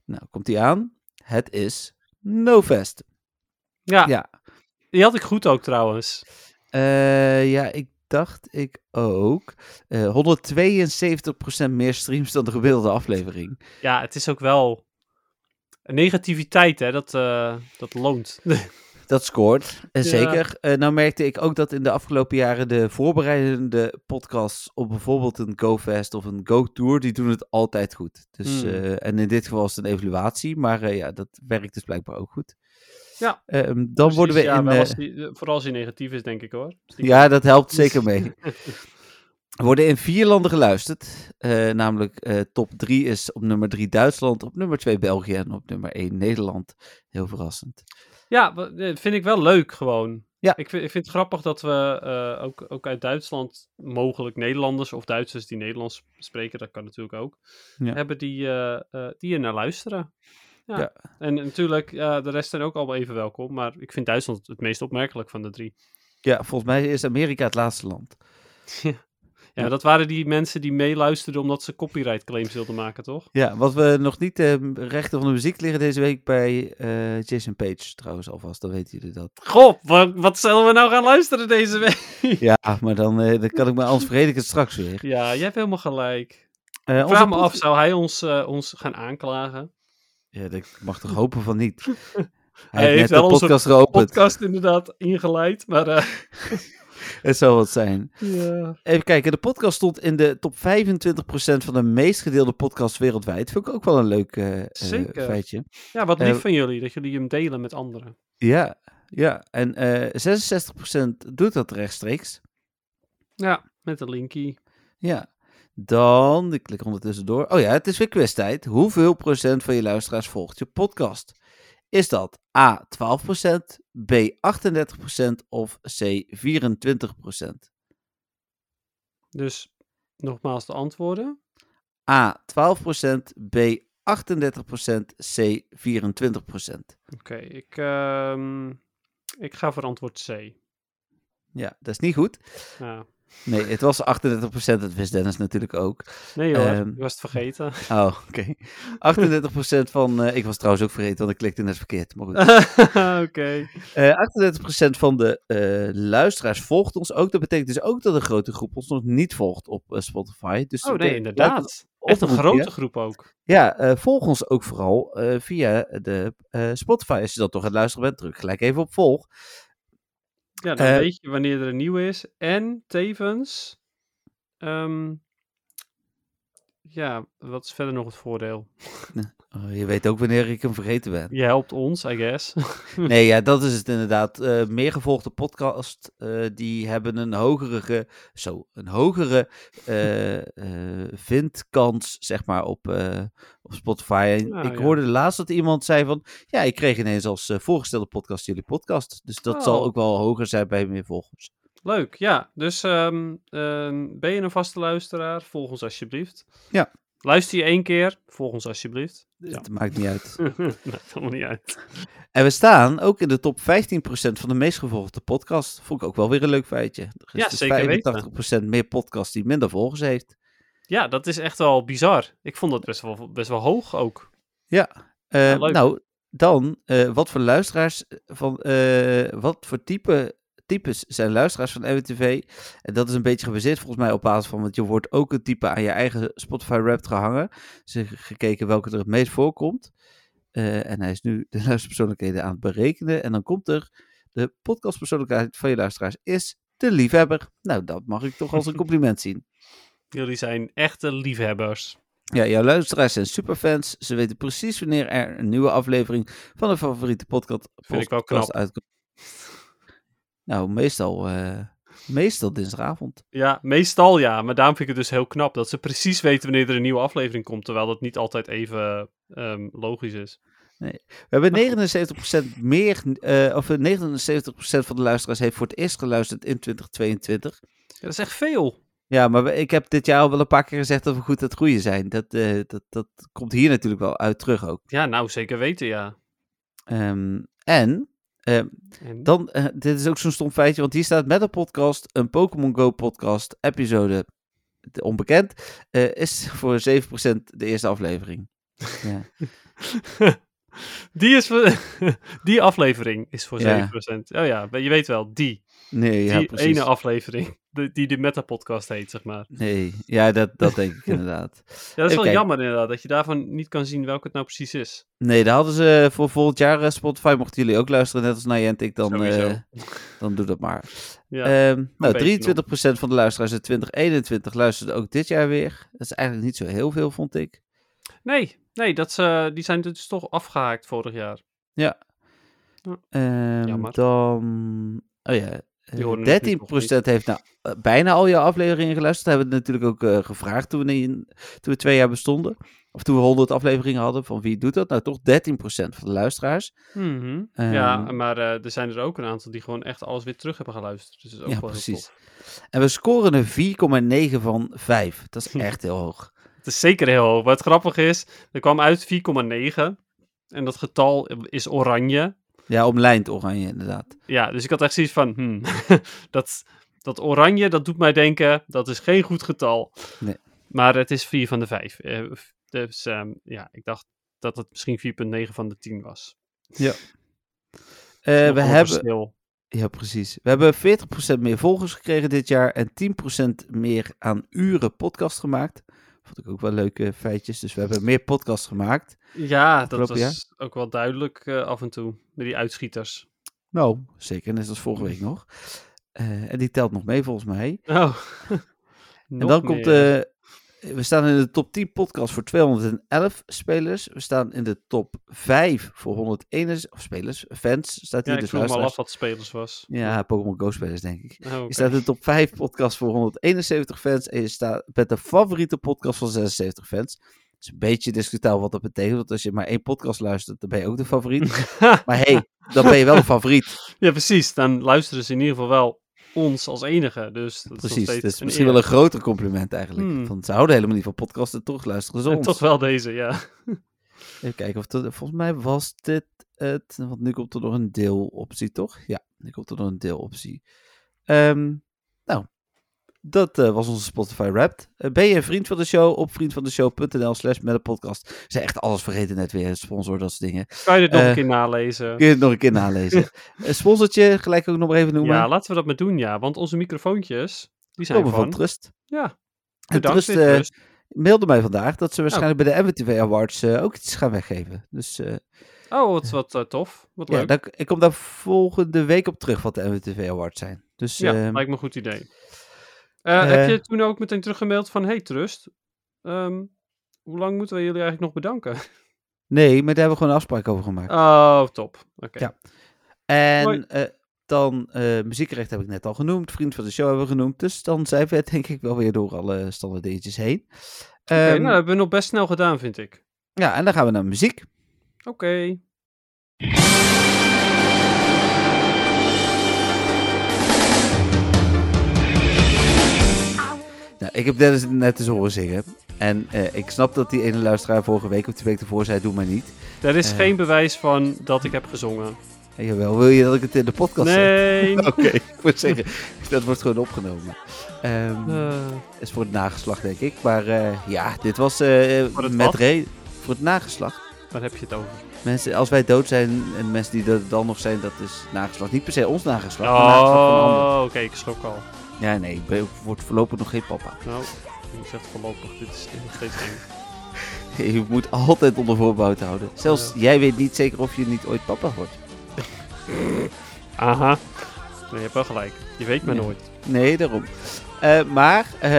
A: Nou, komt die aan. Het is NoFest.
D: Ja,
A: Ja.
D: die had ik goed ook trouwens.
A: Eh, ja, ik dacht ik ook. Eh 172% meer streams dan de gemiddelde aflevering.
D: Ja, het is ook wel... Negativiteit, hè, dat, eh, dat loont.
A: Dat scoort. En
D: Ja.
A: zeker. Eh, nou merkte ik ook dat in de afgelopen jaren de voorbereidende podcasts op bijvoorbeeld een GoFest of een GoTour, die doen het altijd goed. Dus,
D: Hmm.
A: eh, en in dit geval is het een evaluatie, maar eh, ja, dat werkt dus blijkbaar ook goed.
D: Ja.
A: Ehm, dan worden we
D: Precies, ja,
A: in...
D: wel
A: eh,
D: als die- eh, vooral als hij negatief is, denk ik hoor.
A: Ja, dat helpt zeker mee. Er worden in vier landen geluisterd. Eh, namelijk eh, top 3 is op nummer 3 Duitsland, op nummer 2 België en op nummer 1 Nederland. Heel verrassend.
D: Ja, wa- eh, vind ik wel leuk gewoon.
A: Ja.
D: Ik vind, ik vind het grappig dat we eh, ook, ook uit Duitsland mogelijk Nederlanders of Duitsers die Nederlands spreken, dat kan natuurlijk ook,
A: Ja.
D: hebben die, eh eh, die er naar luisteren. Ja.
A: Ja.
D: En natuurlijk, ja, de rest zijn ook allemaal even welkom, maar ik vind Duitsland het meest opmerkelijk van de drie.
A: Ja, volgens mij is Amerika het laatste land.
D: Ja,
A: Ja.
D: dat waren die mensen die meeluisterden omdat ze copyright claims wilden maken, toch?
A: Ja, wat we nog niet de rechten van de muziek liggen deze week bij eh, Jason Page trouwens alvast, dan weten jullie dat.
D: Goh, wat, wat zullen we nou gaan luisteren deze week?
A: Ja, maar dan, eh, dan kan ik me anders vergeet ik het straks weer.
D: Ja, jij hebt helemaal gelijk.
A: Eh, onze
D: Vraag me
A: pod-
D: af, zou hij ons, eh, ons gaan aanklagen?
A: Ja, ik mag toch hopen van niet. Hij,
D: heeft
A: heeft net
D: wel
A: de
D: onze
A: podcast geopend.
D: podcast inderdaad ingeleid, maar eh,
A: Het zou wat zijn.
D: ja.
A: Even kijken, de podcast stond in de top 25% van de meest gedeelde podcasts wereldwijd. Vind ik ook wel een leuk eh, eh,
D: Zeker.
A: feitje.
D: ja, wat lief
A: Eh,
D: van jullie dat jullie hem delen met anderen.
A: Ja, ja. en eh 66% doet dat rechtstreeks.
D: Ja, met een linkie.
A: Ja. Dan, ik klik ondertussen door. Oh ja, het is weer quiztijd. Hoeveel procent van je luisteraars volgt je podcast? Is dat A 12%, B 38% of C 24%?
D: Dus nogmaals de antwoorden.
A: A 12%, B 38%, C 24%.
D: Oké, ik, ehm, ik ga voor antwoord C.
A: Ja, dat is niet goed.
D: Ja.
A: Nee, het was 38%. Dat wist Dennis natuurlijk ook.
D: Nee hoor,
A: Ehm,
D: ik was het vergeten.
A: Oh, oké. 38% van... eh, ik was trouwens ook vergeten, want ik klikte net verkeerd. Maar goed.
D: Oké.
A: Eh, 38% van de eh, luisteraars volgt ons ook. Dat betekent dus ook dat een grote groep ons nog niet volgt op eh, Spotify. Dus
D: Oh
A: dat
D: nee,
A: betekent-
D: inderdaad. Echt een
A: oproep,
D: grote
A: ja.
D: groep ook.
A: Ja, eh, volg ons ook vooral eh, via de eh, Spotify. Als je dan toch aan het luisteren bent, druk gelijk even op volg.
D: Ja, dan
A: Eh,
D: weet je wanneer er een nieuw is. En tevens, ehm, ja, wat is verder nog het voordeel?
A: Oh, je weet ook wanneer ik hem vergeten ben.
D: Je helpt ons, I guess.
A: Nee, ja, dat is het inderdaad. Eh, meer gevolgde podcast, eh, die hebben een hogere, ge- zo, een hogere eh, eh, vindkans, zeg maar, op, eh, op Spotify. En
D: Nou,
A: ik
D: ja.
A: hoorde laatst dat iemand zei van, ja, ik kreeg ineens als eh, voorgestelde podcast jullie podcast. Dus dat zal
D: Oh.
A: ook wel hoger zijn bij meer volgers.
D: Leuk, ja. Dus ehm, ehm, ben je een vaste luisteraar? Volg ons alsjeblieft.
A: Ja.
D: Luister je één keer? Volg ons alsjeblieft. Ja.
A: Dus Het maakt niet uit.
D: Maakt allemaal niet uit.
A: En we staan ook in de top 15% van de meest gevolgde podcast. Vond ik ook wel weer een leuk feitje. Er is
D: Ja,
A: dus
D: zeker weten.
A: 85% meer podcast die minder volgers heeft.
D: Ja, dat is echt wel bizar. Ik vond dat best wel, best wel hoog ook.
A: Eh,
D: Ja, leuk.
A: nou, dan, eh, wat voor luisteraars van, eh, wat voor type, types zijn luisteraars van MWTV? En dat is een beetje gebaseerd volgens mij op basis van, want je wordt ook een type aan je eigen Spotify rap gehangen. Dus er is gekeken welke er het meest voorkomt. Eh, en hij is nu de luisterpersoonlijkheden aan het berekenen. En dan komt er, de podcastpersoonlijkheid van je luisteraars is de liefhebber. Nou, dat mag ik toch als een compliment zien.
D: Jullie zijn echte liefhebbers.
A: Ja, jouw luisteraars zijn superfans. Ze weten precies wanneer er een nieuwe aflevering van hun favoriete podcast,
D: Vind ik wel
A: podcast
D: knap.
A: uitkomt. Nou, meestal, eh, meestal dinsdagavond.
D: Ja, meestal ja. Maar daarom vind ik het dus heel knap dat ze precies weten wanneer er een nieuwe aflevering komt. Terwijl dat niet altijd even ehm, logisch is.
A: We
D: Nou
A: hebben 79% meer, eh, of eh, 79% van de luisteraars heeft voor het eerst geluisterd in 2022.
D: Ja, dat is echt veel.
A: Ja, maar we- ik heb dit jaar al wel een paar keer gezegd dat we goed aan het groeien zijn. Dat, eh, dat, dat komt hier natuurlijk wel uit terug ook.
D: Ja, nou zeker weten ja.
A: Ehm, en
D: En...
A: Dan, eh, dit is ook zo'n stom feitje, want hier staat met een podcast, een Pokémon Go podcast, episode de- onbekend, eh, is voor 7% de eerste aflevering. Ja.
D: die, is voor- die aflevering is voor
A: Ja.
D: 7%. Oh ja, je weet wel, die.
A: Nee, ja,
D: die
A: precies.
D: ene aflevering. Die, die de Meta-podcast heet, zeg maar.
A: Nee, ja, dat, dat denk ik inderdaad.
D: Ja, dat is
A: Even
D: wel
A: kijken.
D: jammer inderdaad, dat je daarvan niet kan zien welke het nou precies is.
A: Nee, daar hadden ze voor volgend jaar eh, Spotify, mochten jullie ook luisteren, net als Niantic, dan,
D: Sowieso.
A: eh, dan doe dat maar.
D: Ja,
A: Ehm nou,
D: beetje
A: 23% van de luisteraars in 2021 luisterde ook dit jaar weer. Dat is eigenlijk niet zo heel veel, vond ik.
D: Nee, nee dat ze, die zijn dus toch afgehaakt vorig jaar.
A: Ehm,
D: Jammer.
A: Dan. Oh ja. eh,
D: Die
A: 13%
D: horen we natuurlijk nog
A: heeft nou eh, bijna al jouw afleveringen geluisterd. Dat hebben we natuurlijk ook eh, gevraagd toen we, in- toen we twee jaar bestonden. Of toen we 100 afleveringen hadden. Van wie doet dat? Nou, toch 13% van de luisteraars.
D: Mhm.
A: Ehm.
D: ja, maar eh, er zijn er ook een aantal die gewoon echt alles weer terug hebben geluisterd. Dus dat is ook
A: Ja,
D: wel heel
A: precies.
D: tof.
A: En we scoren een 4,9 van 5. Dat is echt heel hoog.
D: Het is zeker heel hoog. Wat grappig is, er kwam uit 4,9. En dat getal is oranje.
A: Ja, omlijnd oranje inderdaad.
D: Ja, dus ik had echt zoiets van, hmm, dat, dat oranje, dat doet mij denken, dat is geen goed getal.
A: Nee.
D: Maar het is 4 van de 5. dus ehm, ja, ik dacht dat het misschien 4,9 van de 10 was.
A: Eh,
D: Nog
A: we
D: een
A: hebben
D: verschil.
A: Ja, precies. We hebben 40% meer volgers gekregen dit jaar en 10% meer aan uren podcast gemaakt. Vond ik ook wel leuke feitjes. Dus we hebben meer podcast gemaakt.
D: Ja, dat
A: Afgelopen
D: was ook wel duidelijk eh, af en toe, met die uitschieters.
A: Nou, zeker. Net als vorige week nog. Eh, en die telt nog mee volgens mij.
D: Oh.
A: en dan komt eh, de. we staan in de top 10 podcast voor 211 spelers. We staan in de top 5 voor 101 of spelers. Fans staat
D: Ja,
A: hier
D: ik
A: dus
D: vroeg me al af
A: luisteraars.
D: wat spelers was.
A: Ja, Pokémon Go spelers denk ik.
D: Oh, oké.
A: Je staat in de top 5 podcast voor 171 fans. En je staat met de favoriete podcast van 76 fans. Het is een beetje discutabel wat dat betekent. Want als je maar één podcast luistert, dan ben je ook de favoriet. maar hey, dan ben je wel de favoriet.
D: Ja, precies. Dan luisteren ze in ieder geval wel ons als enige. Dus dat
A: Precies.
D: is nog
A: Dat
D: steeds
A: is
D: een
A: misschien
D: eer.
A: wel een groter compliment eigenlijk.
D: Hmm.
A: Want ze houden helemaal niet van podcasts en toch luisteren ze
D: En
A: ons.
D: toch wel deze, ja.
A: Even kijken. Of dat, volgens mij was dit het. Want nu komt er nog een deeloptie, toch? Ja, nu komt er nog een deeloptie. Ehm, nou, Dat eh, was onze Spotify Wrapped. Eh, ben je een vriend van de show? Op vriendvandeshow.nl slash met een podcast. Ze zijn echt alles vergeten net weer. Sponsor, dat soort dingen.
D: Kan je dit nog
A: Eh,
D: een keer nalezen?
A: Kun je het nog een keer nalezen. Een sponsortje, gelijk ook nog maar even noemen.
D: Ja, laten we dat maar doen, ja. Want onze microfoontjes, die zijn
A: Komen
D: van.
A: van Trust.
D: Ja.
A: En
D: Bedankt, Nou.
A: Trust
D: dit
A: eh,
D: dus.
A: mailde mij vandaag dat ze waarschijnlijk bij de MTV Awards eh, ook iets gaan weggeven. Dus eh,
D: Oh, wat, wat eh, tof. Wat
A: ja,
D: leuk.
A: daar- ik kom daar volgende week op terug wat de MTV Awards zijn. Dus
D: Ja,
A: ehm,
D: lijkt me een goed idee. Eh, heb
A: eh,
D: je toen ook meteen teruggemaild van, hey Trust, ehm, hoe lang moeten we jullie eigenlijk nog bedanken?
A: nee, maar daar hebben we gewoon een afspraak over gemaakt.
D: Oh, top. Oké.
A: Ja. En
D: Mooi.
A: eh, dan eh, muziekrecht heb ik net al genoemd. Vriend van de show hebben we genoemd. Dus dan zijn we denk ik wel weer door alle standaard dingetjes heen.
D: Oké,
A: Ehm,
D: nou, dat hebben we nog best snel gedaan, vind ik.
A: Ja, en dan gaan we naar muziek.
D: Oké.
A: Nou, ik heb Dennis net eens horen zingen. En eh, ik snap dat die ene luisteraar vorige week of twee weken ervoor zei, doe maar niet.
D: Er is
A: Eh.
D: geen bewijs van dat ik heb gezongen.
A: En jawel, wil je dat ik het Nou, in de podcast zet?
D: Nee.
A: Oké, ik moet zeggen, dat wordt gewoon opgenomen. Ehm
D: Eh,
A: is voor het nageslacht, denk ik. Maar eh, ja, dit was eh
D: Voor het
A: met
D: wat?
A: re voor het nageslacht.
D: waar heb je het over?
A: Mensen, als wij dood zijn en mensen die er dan nog zijn, dat is nageslacht. Niet per se ons nageslacht, maar nageslacht van anderen.
D: Oh, oké, ik schrok al.
A: Ja, nee, ik ben- word voorlopig nog geen papa.
D: Nou, je zegt voorlopig, dit is nog steeds eng.
A: Je moet altijd onder voorbouw te houden. Zelfs
D: Ja.
A: jij weet niet zeker of je niet ooit papa wordt.
D: Aha. Nee, je hebt wel gelijk. Je weet maar
A: Ja.
D: nooit.
A: Nee, daarom. Eh, maar eh,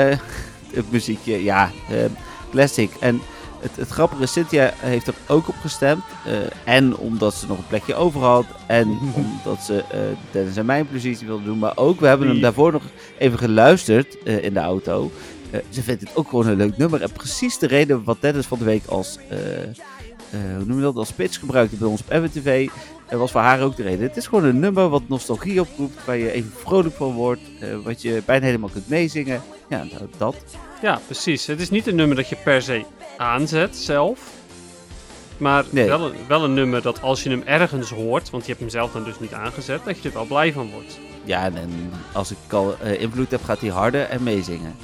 A: het muziekje, ja, eh, classic. En het, het grappige is, Cynthia heeft er ook op gestemd. eh, en omdat ze nog een plekje over had. En omdat ze eh Dennis en mijn plezier wilde doen. Maar ook, we hebben hem
D: Die-
A: daarvoor nog even geluisterd eh, in de auto. Eh, ze vindt het ook gewoon een leuk nummer. En precies de reden wat Dennis van de week als... eh, eh, hoe noem je dat, als spits gebruikte bij ons op MTV. Dat was voor haar ook de reden. Het is gewoon een nummer wat nostalgie oproept, waar je even vrolijk van wordt, eh, wat je bijna helemaal kunt meezingen. Ja, nou, dat.
D: Ja, precies. Het is niet een nummer dat je per se aanzet zelf. Maar
A: Nee.
D: wel, een, wel een nummer dat als je hem ergens hoort, want je hebt hem zelf dan dus niet aangezet, dat je er wel blij van wordt.
A: Ja, en, en als ik al eh, invloed heb, gaat hij harder en meezingen.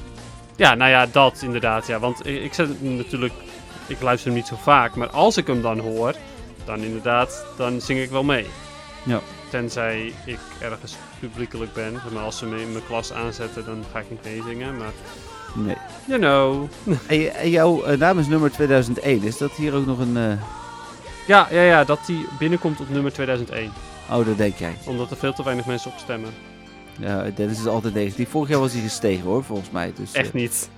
D: Ja, nou ja, dat inderdaad. Ja, want ik, ik zet hem natuurlijk, ik luister hem niet zo vaak, maar als ik hem dan hoor, dan inderdaad, dan zing ik wel mee.
A: Ja.
D: Tenzij ik ergens publiekelijk ben. Maar als ze me in mijn klas aanzetten, dan ga ik niet meezingen. Maar,
A: Nee.
D: you know.
A: En, je- en jouw eh, namensnummer 2001, is dat hier ook nog een... eh
D: Ja, ja, ja, dat die binnenkomt op nummer 2001.
A: oh, dat denk jij.
D: Omdat er veel te weinig mensen op stemmen.
A: Ja, Dennis is altijd negatief. Vorig jaar was hij gestegen hoor, volgens mij. Dus, eh,
D: Echt niet.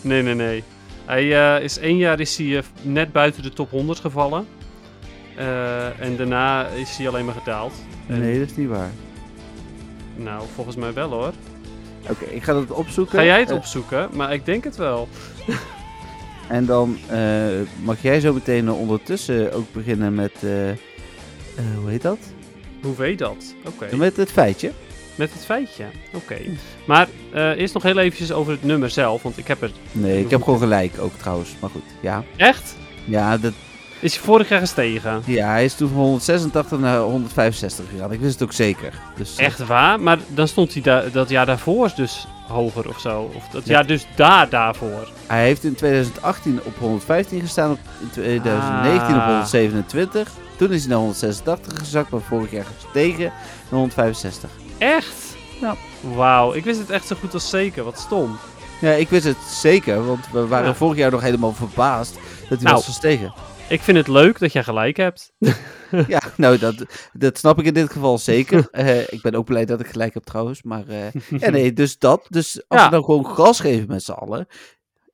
D: Nee, nee, nee. Hij eh, is één jaar is hij, eh, net buiten de top 100 gevallen. Eh, en daarna is hij alleen maar gedaald. En-
A: Nee, dat is niet waar.
D: Nou, volgens mij wel hoor.
A: Oké, ik ga dat opzoeken.
D: Ga jij het
A: Eh,
D: opzoeken? Maar ik denk het wel.
A: En dan eh, mag jij zo meteen eh, ondertussen ook beginnen met. eh, eh, hoe heet dat?
D: Hoe weet dat? Oké.
A: Met het feitje.
D: Met het feitje. Oké. Maar eh, eerst nog heel eventjes over het nummer zelf. Want ik heb het.
A: Nee, ik heb gewoon gelijk ook trouwens. Maar goed, ja.
D: Echt?
A: Ja, dat,
D: Is hij vorig jaar gestegen?
A: ja hij is toen van 186 naar 165 gegaan. Ik wist het ook zeker. Dus, eh,
D: Echt waar? Maar dan stond hij daar dat jaar daarvoor dus hoger of zo. Of dat
A: Ja.
D: jaar dus daar daarvoor.
A: hij heeft in 2018 op 115 gestaan, op in 2019 op
D: Ah.
A: 127. Toen is hij naar 186 gezakt, maar vorig jaar gestegen naar 165.
D: Echt?
A: Ja.
D: Wauw, ik wist het echt zo goed als zeker. Wat stom.
A: Ja, ik wist het zeker, want we waren
D: Ja.
A: vorig jaar nog helemaal verbaasd dat hij
D: Nou.
A: was gestegen.
D: Ik vind het leuk dat jij gelijk hebt.
A: Ja, nou, dat, dat snap ik in dit geval zeker. Eh, ik ben ook blij dat ik gelijk heb trouwens. Maar eh, ja, nee, dus dat. Dus als
D: Ja.
A: we dan gewoon gas geven met z'n allen.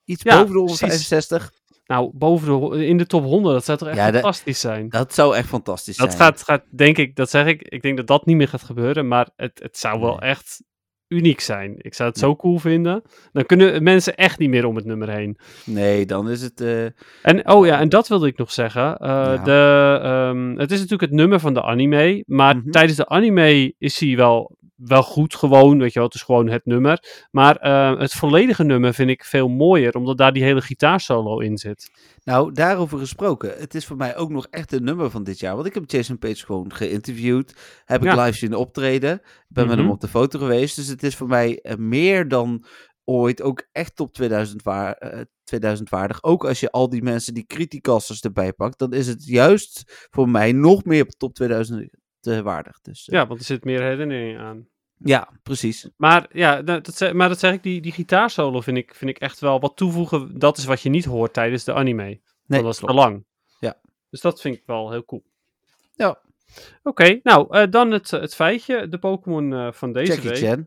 A: Iets
D: Ja,
A: boven de
D: precies.
A: 165.
D: Nou, boven de, ho- in de top 100, dat zou toch echt
A: Ja, dat-
D: fantastisch zijn?
A: Dat zou echt fantastisch
D: Dat
A: zijn.
D: gaat, gaat, denk ik, dat zeg ik. Ik denk dat dat niet meer gaat gebeuren, maar het, het zou wel
A: Nee.
D: echt uniek zijn. Ik zou het zo cool vinden. Dan kunnen mensen echt niet meer om het nummer heen.
A: Nee, dan is het... eh,
D: En oh ja, en dat wilde ik nog zeggen. Eh,
A: Ja.
D: de, ehm, het is natuurlijk het nummer van de anime, maar
A: Mhm.
D: tijdens de anime is hij wel wel goed gewoon, weet je wel, het is gewoon het nummer. Maar eh, het volledige nummer vind ik veel mooier, omdat daar die hele gitaarsolo in zit.
A: Nou, daarover gesproken. Het is voor mij ook nog echt een nummer van dit jaar. Want ik heb Jason Page gewoon geïnterviewd. Heb ik
D: Ja.
A: live zien optreden. Ik ben met hem
D: Mhm.
A: op de foto geweest. Dus het is voor mij eh, meer dan ooit ook echt top 2000, waar, eh, 2000 waardig. Ook als je al die mensen, die criticasters erbij pakt. Dan is het juist voor mij nog meer op top 2000 eh, waardig. Dus, eh,
D: Ja, want er zit meer herinnering aan.
A: ja, precies.
D: Maar ja, nou, dat, ze- maar dat zeg ik, die, die gitaarsolo vind ik, vind ik echt wel wat toevoegen. Dat is wat je niet hoort tijdens de anime. Nee,
A: Nee,
D: dat was te
A: klopt.
D: lang.
A: Ja.
D: Dus dat vind ik wel heel cool.
A: Ja.
D: Oké, nou, eh, dan het, het feitje. De Pokémon eh, van deze
A: Jackie
D: week.
A: Chan.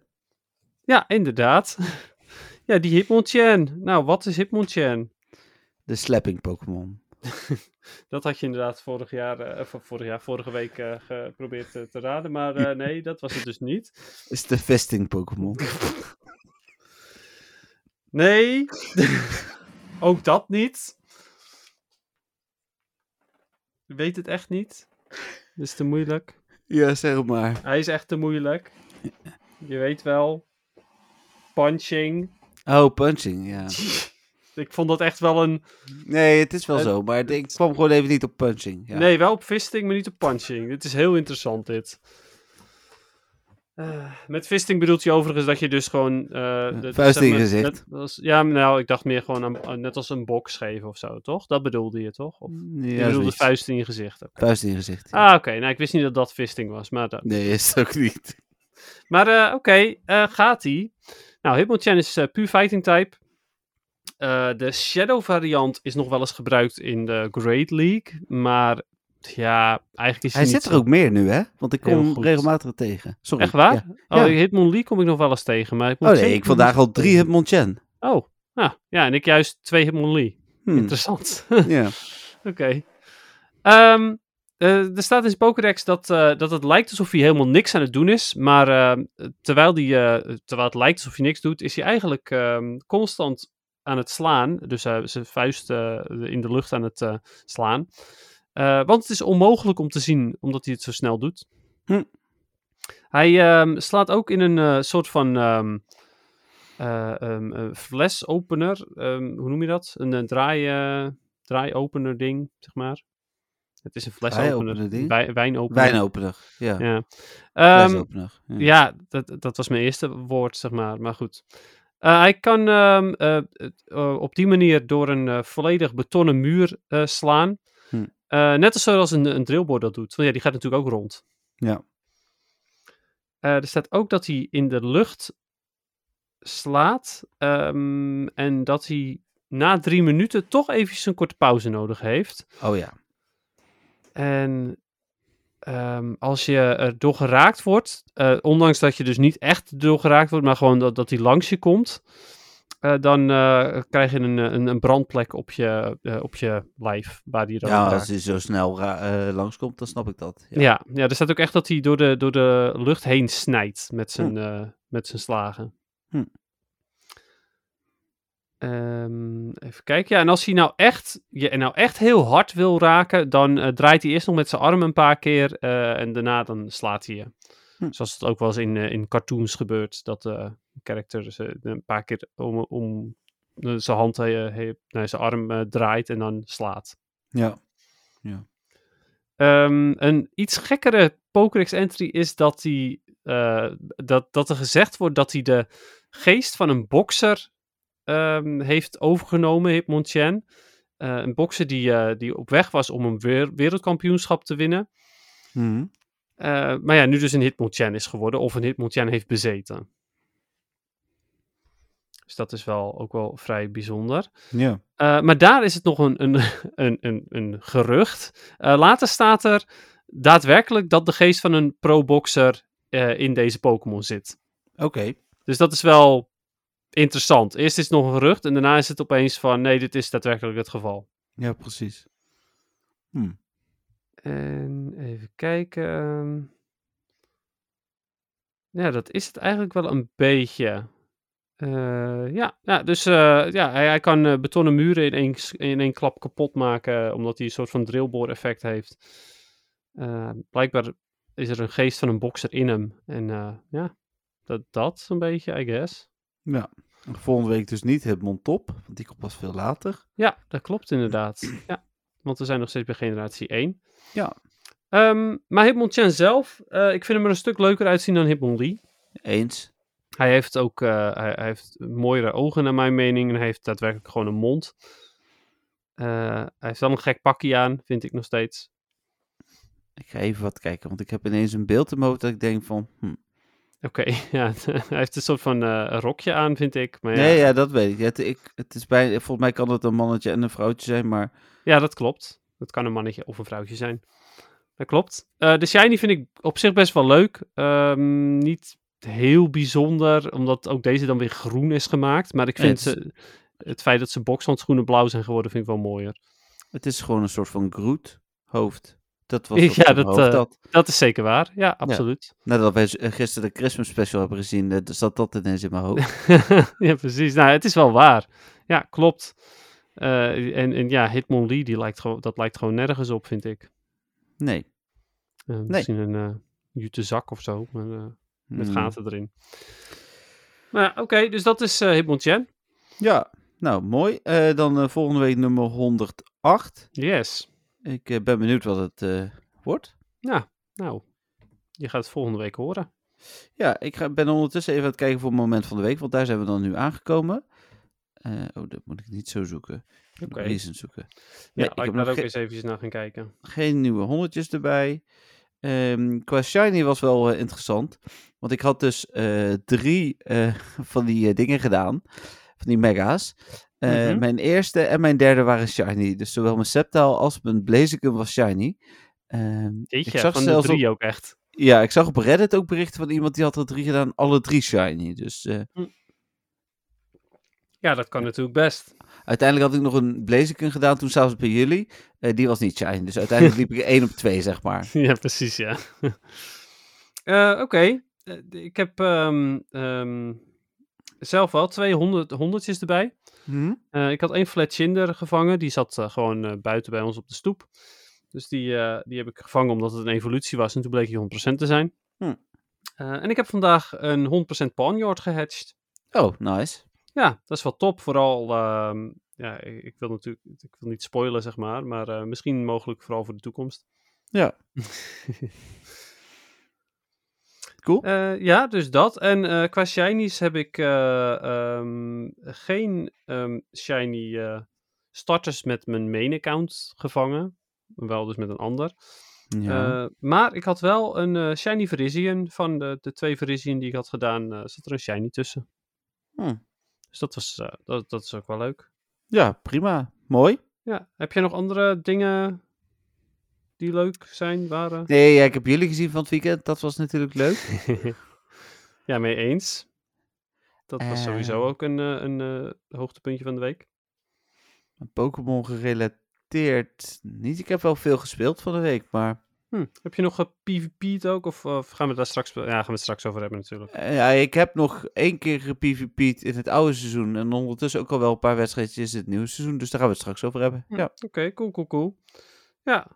D: Ja, inderdaad. ja, die Hitmonchan. Nou, wat is Hitmonchan?
A: De slapping Pokémon.
D: Dat had je inderdaad vorig jaar, eh, of vorig jaar vorige week eh, geprobeerd eh, te raden. Maar eh, nee, dat was het dus niet.
A: Is de vesting Pokémon.
D: Nee, ook dat niet. Ik weet het echt niet. Dat is te moeilijk.
A: ja, zeg maar.
D: Hij is echt te moeilijk. Je weet wel. Punching.
A: Oh, punching, ja.
D: Ik vond dat echt wel een...
A: Nee, het is wel
D: Eh,
A: zo, maar ik kwam gewoon even niet op punching. Ja.
D: Nee, wel op fisting, maar niet op punching. Dit is heel interessant, dit. Eh, met fisting bedoelt je overigens dat je dus gewoon... eh, de-
A: vuist in je
D: maar,
A: gezicht.
D: net als- ja, maar nou, ik dacht meer gewoon aan- aan- net als een box geven of zo, toch? Dat bedoelde je, toch? Of, je
A: ja,
D: bedoelde
A: zoiets.
D: vuist in je gezicht. oké.
A: Vuist in je gezicht. ja.
D: Ah, oké. Nou, ik wist niet dat dat fisting was, maar... dat-
A: Nee, is het ook niet.
D: Maar eh, oké, eh, gaat-ie. Nou, Hitmonchan is eh, puur fighting type. Eh, de shadow variant is nog wel eens gebruikt in de Great League, maar ja, eigenlijk is
A: Hij
D: niet
A: zit er
D: zo-
A: ook meer nu, hè? Want ik kom
D: Heel
A: hem
D: goed.
A: regelmatig tegen. Sorry.
D: Echt waar?
A: Ja.
D: Oh, Hitmonlee kom ik nog wel eens tegen, maar ik moet
A: Oh nee,
D: zeggen-
A: ik vandaag al drie Hitmonchan.
D: Oh, nou, ja, en ik juist twee Hitmonlee.
A: Hm.
D: Interessant.
A: Ja.
D: Oké. Ehm, eh, er staat in zijn Pokédex dat, eh, dat het lijkt alsof hij helemaal niks aan het doen is. Maar ehm, terwijl, die, eh, terwijl het lijkt alsof hij niks doet, is hij eigenlijk ehm, constant aan het slaan. Dus eh, zijn vuist eh, in de lucht aan het eh, slaan. Eh, want het is onmogelijk om te zien, omdat hij het zo snel doet.
A: Hm.
D: Hij ehm, slaat ook in een eh, soort van ehm eh, ehm, eh, flesopener. ehm, hoe noem je dat? Een, eh, draai... eh, draaiopener ding, zeg maar. Het is een flesopener.
A: Draaiopener ding?
D: Wij- Wijnopener.
A: Wijnopener. Ja.
D: Ja. Ehm,
A: Flesopener. Ja.
D: ja, dat, dat was mijn eerste woord, zeg maar. Maar goed. Eh, hij kan ehm, eh, het, eh, op die manier door een eh, volledig betonnen muur eh, slaan.
A: Hm.
D: Eh, net als zoals een, een drillboor dat doet. Want ja, die gaat natuurlijk ook rond.
A: Ja.
D: Eh, er staat ook dat hij in de lucht slaat. ehm, en dat hij na drie minuten toch even een korte pauze nodig heeft.
A: Oh ja.
D: En ehm, als je er door geraakt wordt, eh, ondanks dat je dus niet echt door geraakt wordt, maar gewoon dat, dat die langs je komt, eh, dan eh, krijg je een, eh, een, een brandplek op je, eh, op je lijf, waar die dan
A: Ja,
D: raakt.
A: als hij zo snel ra- eh, langskomt, dan snap ik dat. Ja.
D: Ja. Ja, er staat ook echt dat hij door de, door de lucht heen snijdt met zijn, eh, met zijn slagen.
A: Hm.
D: Ehm, even kijken. Ja, en als hij nou echt, je nou echt heel hard wil raken, dan eh, draait hij eerst nog met zijn arm een paar keer eh, en daarna dan slaat hij je.
A: Hm.
D: Zoals het ook wel eens in, eh, in cartoons gebeurt, dat eh character ze een paar keer om, om eh, zijn hand, eh, heen- nee, zijn arm eh, draait en dan slaat.
A: Ja.
D: Ehm, een iets gekkere Pokédex entry is dat, hij, eh, dat, dat er gezegd wordt dat hij de geest van een bokser ehm, heeft overgenomen, Hitmonchan. Eh, een bokser die, eh, die op weg was om een wer- wereldkampioenschap te winnen.
A: Hm.
D: Eh, maar ja, nu dus een Hitmonchan is geworden of een Hitmonchan heeft bezeten. Dus dat is wel ook wel vrij bijzonder.
A: Ja.
D: Eh, maar daar is het nog een, een, een, een, een gerucht. Eh, later staat er daadwerkelijk dat de geest van een pro-boxer eh, in deze Pokémon zit.
A: Oké.
D: Dus dat is wel interessant. Eerst is het nog een gerucht en daarna is het opeens van nee, dit is daadwerkelijk het geval.
A: Ja, precies.
D: En even kijken. ehm. Ja, dat is het eigenlijk wel een beetje. Eh, ja, ja, dus eh, ja, hij, hij kan eh, betonnen muren in één, s- in één klap kapot maken, eh, omdat hij een soort van drillboor effect heeft. Eh, blijkbaar is er een geest van een bokser in hem. En eh, ja, Dat, dat een beetje, I guess.
A: Ja. Volgende week dus niet het Montop, want die komt pas veel later.
D: Ja, dat klopt inderdaad. Ja, want we zijn nog steeds bij generatie 1.
A: Ja.
D: Ehm, maar Hitmonchan zelf, eh, ik vind hem er een stuk leuker uitzien dan Hitmonlee.
A: Eens.
D: Hij heeft ook eh, hij, hij heeft mooiere ogen naar mijn mening en hij heeft daadwerkelijk gewoon een mond. Eh, hij heeft wel een gek pakje aan, vind ik nog steeds.
A: Ik ga even wat kijken, want ik heb ineens een beeld in mijn hoofd dat ik denk van... Hm.
D: Oké, ja, hij heeft een soort van eh, rokje aan, vind ik. Maar ja,
A: Nee, ja, dat weet ik. Het, ik het is bij, volgens mij kan het een mannetje en een vrouwtje zijn, maar...
D: Ja, dat klopt. Dat kan een mannetje of een vrouwtje zijn. Dat klopt. Eh, de Shiny vind ik op zich best wel leuk. Ehm, niet heel bijzonder, omdat ook deze dan weer groen is gemaakt. Maar ik
A: Nee,
D: vind
A: het
D: ze, het feit dat ze bokshandschoenen blauw zijn geworden, vind ik wel mooier.
A: Het is gewoon een soort van Groot hoofd. Dat was
D: Ja,
A: wat ja,
D: dat,
A: dat, hoofd
D: eh,
A: had.
D: Dat is zeker waar. Ja, absoluut.
A: Nadat wij z- eh, gisteren de Christmas special hebben gezien, eh, zat dat ineens in mijn hoofd.
D: Ja, precies. Nou, het is wel waar. Ja, klopt. Eh, en, en ja, Hitmonlee, die lijkt gewoon, dat lijkt gewoon nergens op, vind ik.
A: Nee.
D: Eh, Misschien een eh jute zak of zo. Maar, eh, Met
A: Hmm.
D: gaten erin. Maar ja, oké, dus dat is eh Hitmonchan.
A: Ja, nou mooi. Eh, dan eh, volgende week nummer 108.
D: Yes.
A: Ik eh, ben benieuwd wat het eh, wordt.
D: Nou, je gaat het volgende week horen.
A: Ja, ik ga, ben ondertussen even aan het kijken voor het moment van de week, want daar zijn we dan nu aangekomen. Eh, oh, dat moet ik niet zo zoeken. Ik moet
D: Oké.
A: Reason zoeken.
D: Ja,
A: Nee,
D: ik, ik
A: heb
D: daar
A: nog
D: ook
A: ge-
D: eens eventjes naar gaan kijken.
A: geen nieuwe honderdjes erbij. Ehm, qua shiny was wel eh, interessant. Want ik had dus eh, drie eh, van die eh, dingen gedaan. Van die mega's. Eh,
D: Mhm.
A: Mijn eerste en mijn derde waren shiny. Dus zowel mijn Sceptile als mijn Blaziken was shiny. Ehm,
D: Jeetje,
A: ik zag
D: van de
A: zelfs
D: drie
A: op,
D: ook echt.
A: Ja, ik zag op Reddit ook berichten van iemand die had er drie gedaan. Alle drie shiny. Dus eh,
D: Ja, dat kan natuurlijk best.
A: uiteindelijk had ik nog een Blaziken gedaan toen s'avonds bij jullie. Eh, die was niet shiny. Dus uiteindelijk liep ik één op twee, zeg maar.
D: ja, precies, ja. Eh, oké, Eh, d- ik heb ehm, ehm, zelf wel twee honderd, honderdjes erbij. Eh, ik had één flatshinder gevangen. Die zat eh, gewoon eh, buiten bij ons op de stoep. Dus die, eh, die heb ik gevangen omdat het een evolutie was. En toen bleek hij 100% te zijn.
A: Hm.
D: Eh, en ik heb vandaag een 100% Ponyard gehatcht.
A: Oh, nice.
D: Ja, dat is wel top. Vooral, ehm, ja, ik, ik wil natuurlijk ik wil niet spoilen, zeg maar. Maar eh, misschien mogelijk vooral voor de toekomst.
A: Ja. cool.
D: Eh, ja, dus dat. En eh, qua shinies heb ik eh, ehm, geen ehm, shiny eh, starters met mijn main account gevangen. Wel dus met een ander.
A: ja.
D: Eh, maar ik had wel een eh, shiny Verizion. Van de, de twee Verizion die ik had gedaan, eh, zat er een shiny tussen.
A: Hm.
D: Dus dat, was, eh, dat, dat is ook wel leuk.
A: ja, prima. Mooi.
D: Ja, heb jij nog andere dingen die leuk zijn, waren?
A: Nee, ja, ik heb jullie gezien van het weekend. Dat was natuurlijk leuk.
D: ja, mee eens. Dat was sowieso
A: Eh.
D: ook een, eh, een eh, hoogtepuntje van de week.
A: Een Pokémon gerelateerd. Niet, ik heb wel veel gespeeld van de week, maar
D: Hm, Heb je nog PvP'd ook? Of, of gaan we daar straks... be- Ja, gaan we het straks over hebben natuurlijk.
A: eh, ja, ik heb nog één keer gepvp'd in het oude seizoen. En ondertussen ook al wel een paar wedstrijdjes in het nieuwe seizoen. Dus daar gaan we het straks over hebben. Ja.
D: Oké, cool, cool, cool. Ja,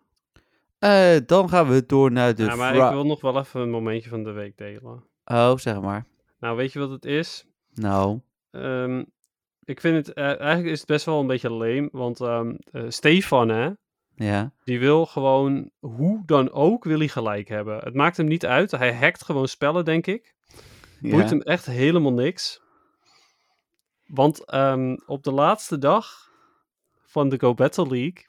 A: Eh, dan gaan we door naar de.
D: ja, maar
A: vra-
D: ik wil nog wel even een momentje van de week delen.
A: Oh, zeg maar.
D: Nou, weet je wat het is?
A: Nou,
D: Ehm, ik vind het... eh, eigenlijk is het best wel een beetje leem. Want ehm, eh, Stefan, hè?
A: ja.
D: Die wil gewoon... Hoe dan ook wil hij gelijk hebben. Het maakt hem niet uit. Hij hackt gewoon spellen, denk ik.
A: ja.
D: Boeit hem echt helemaal niks. Want ehm, op de laatste dag van de Go Battle League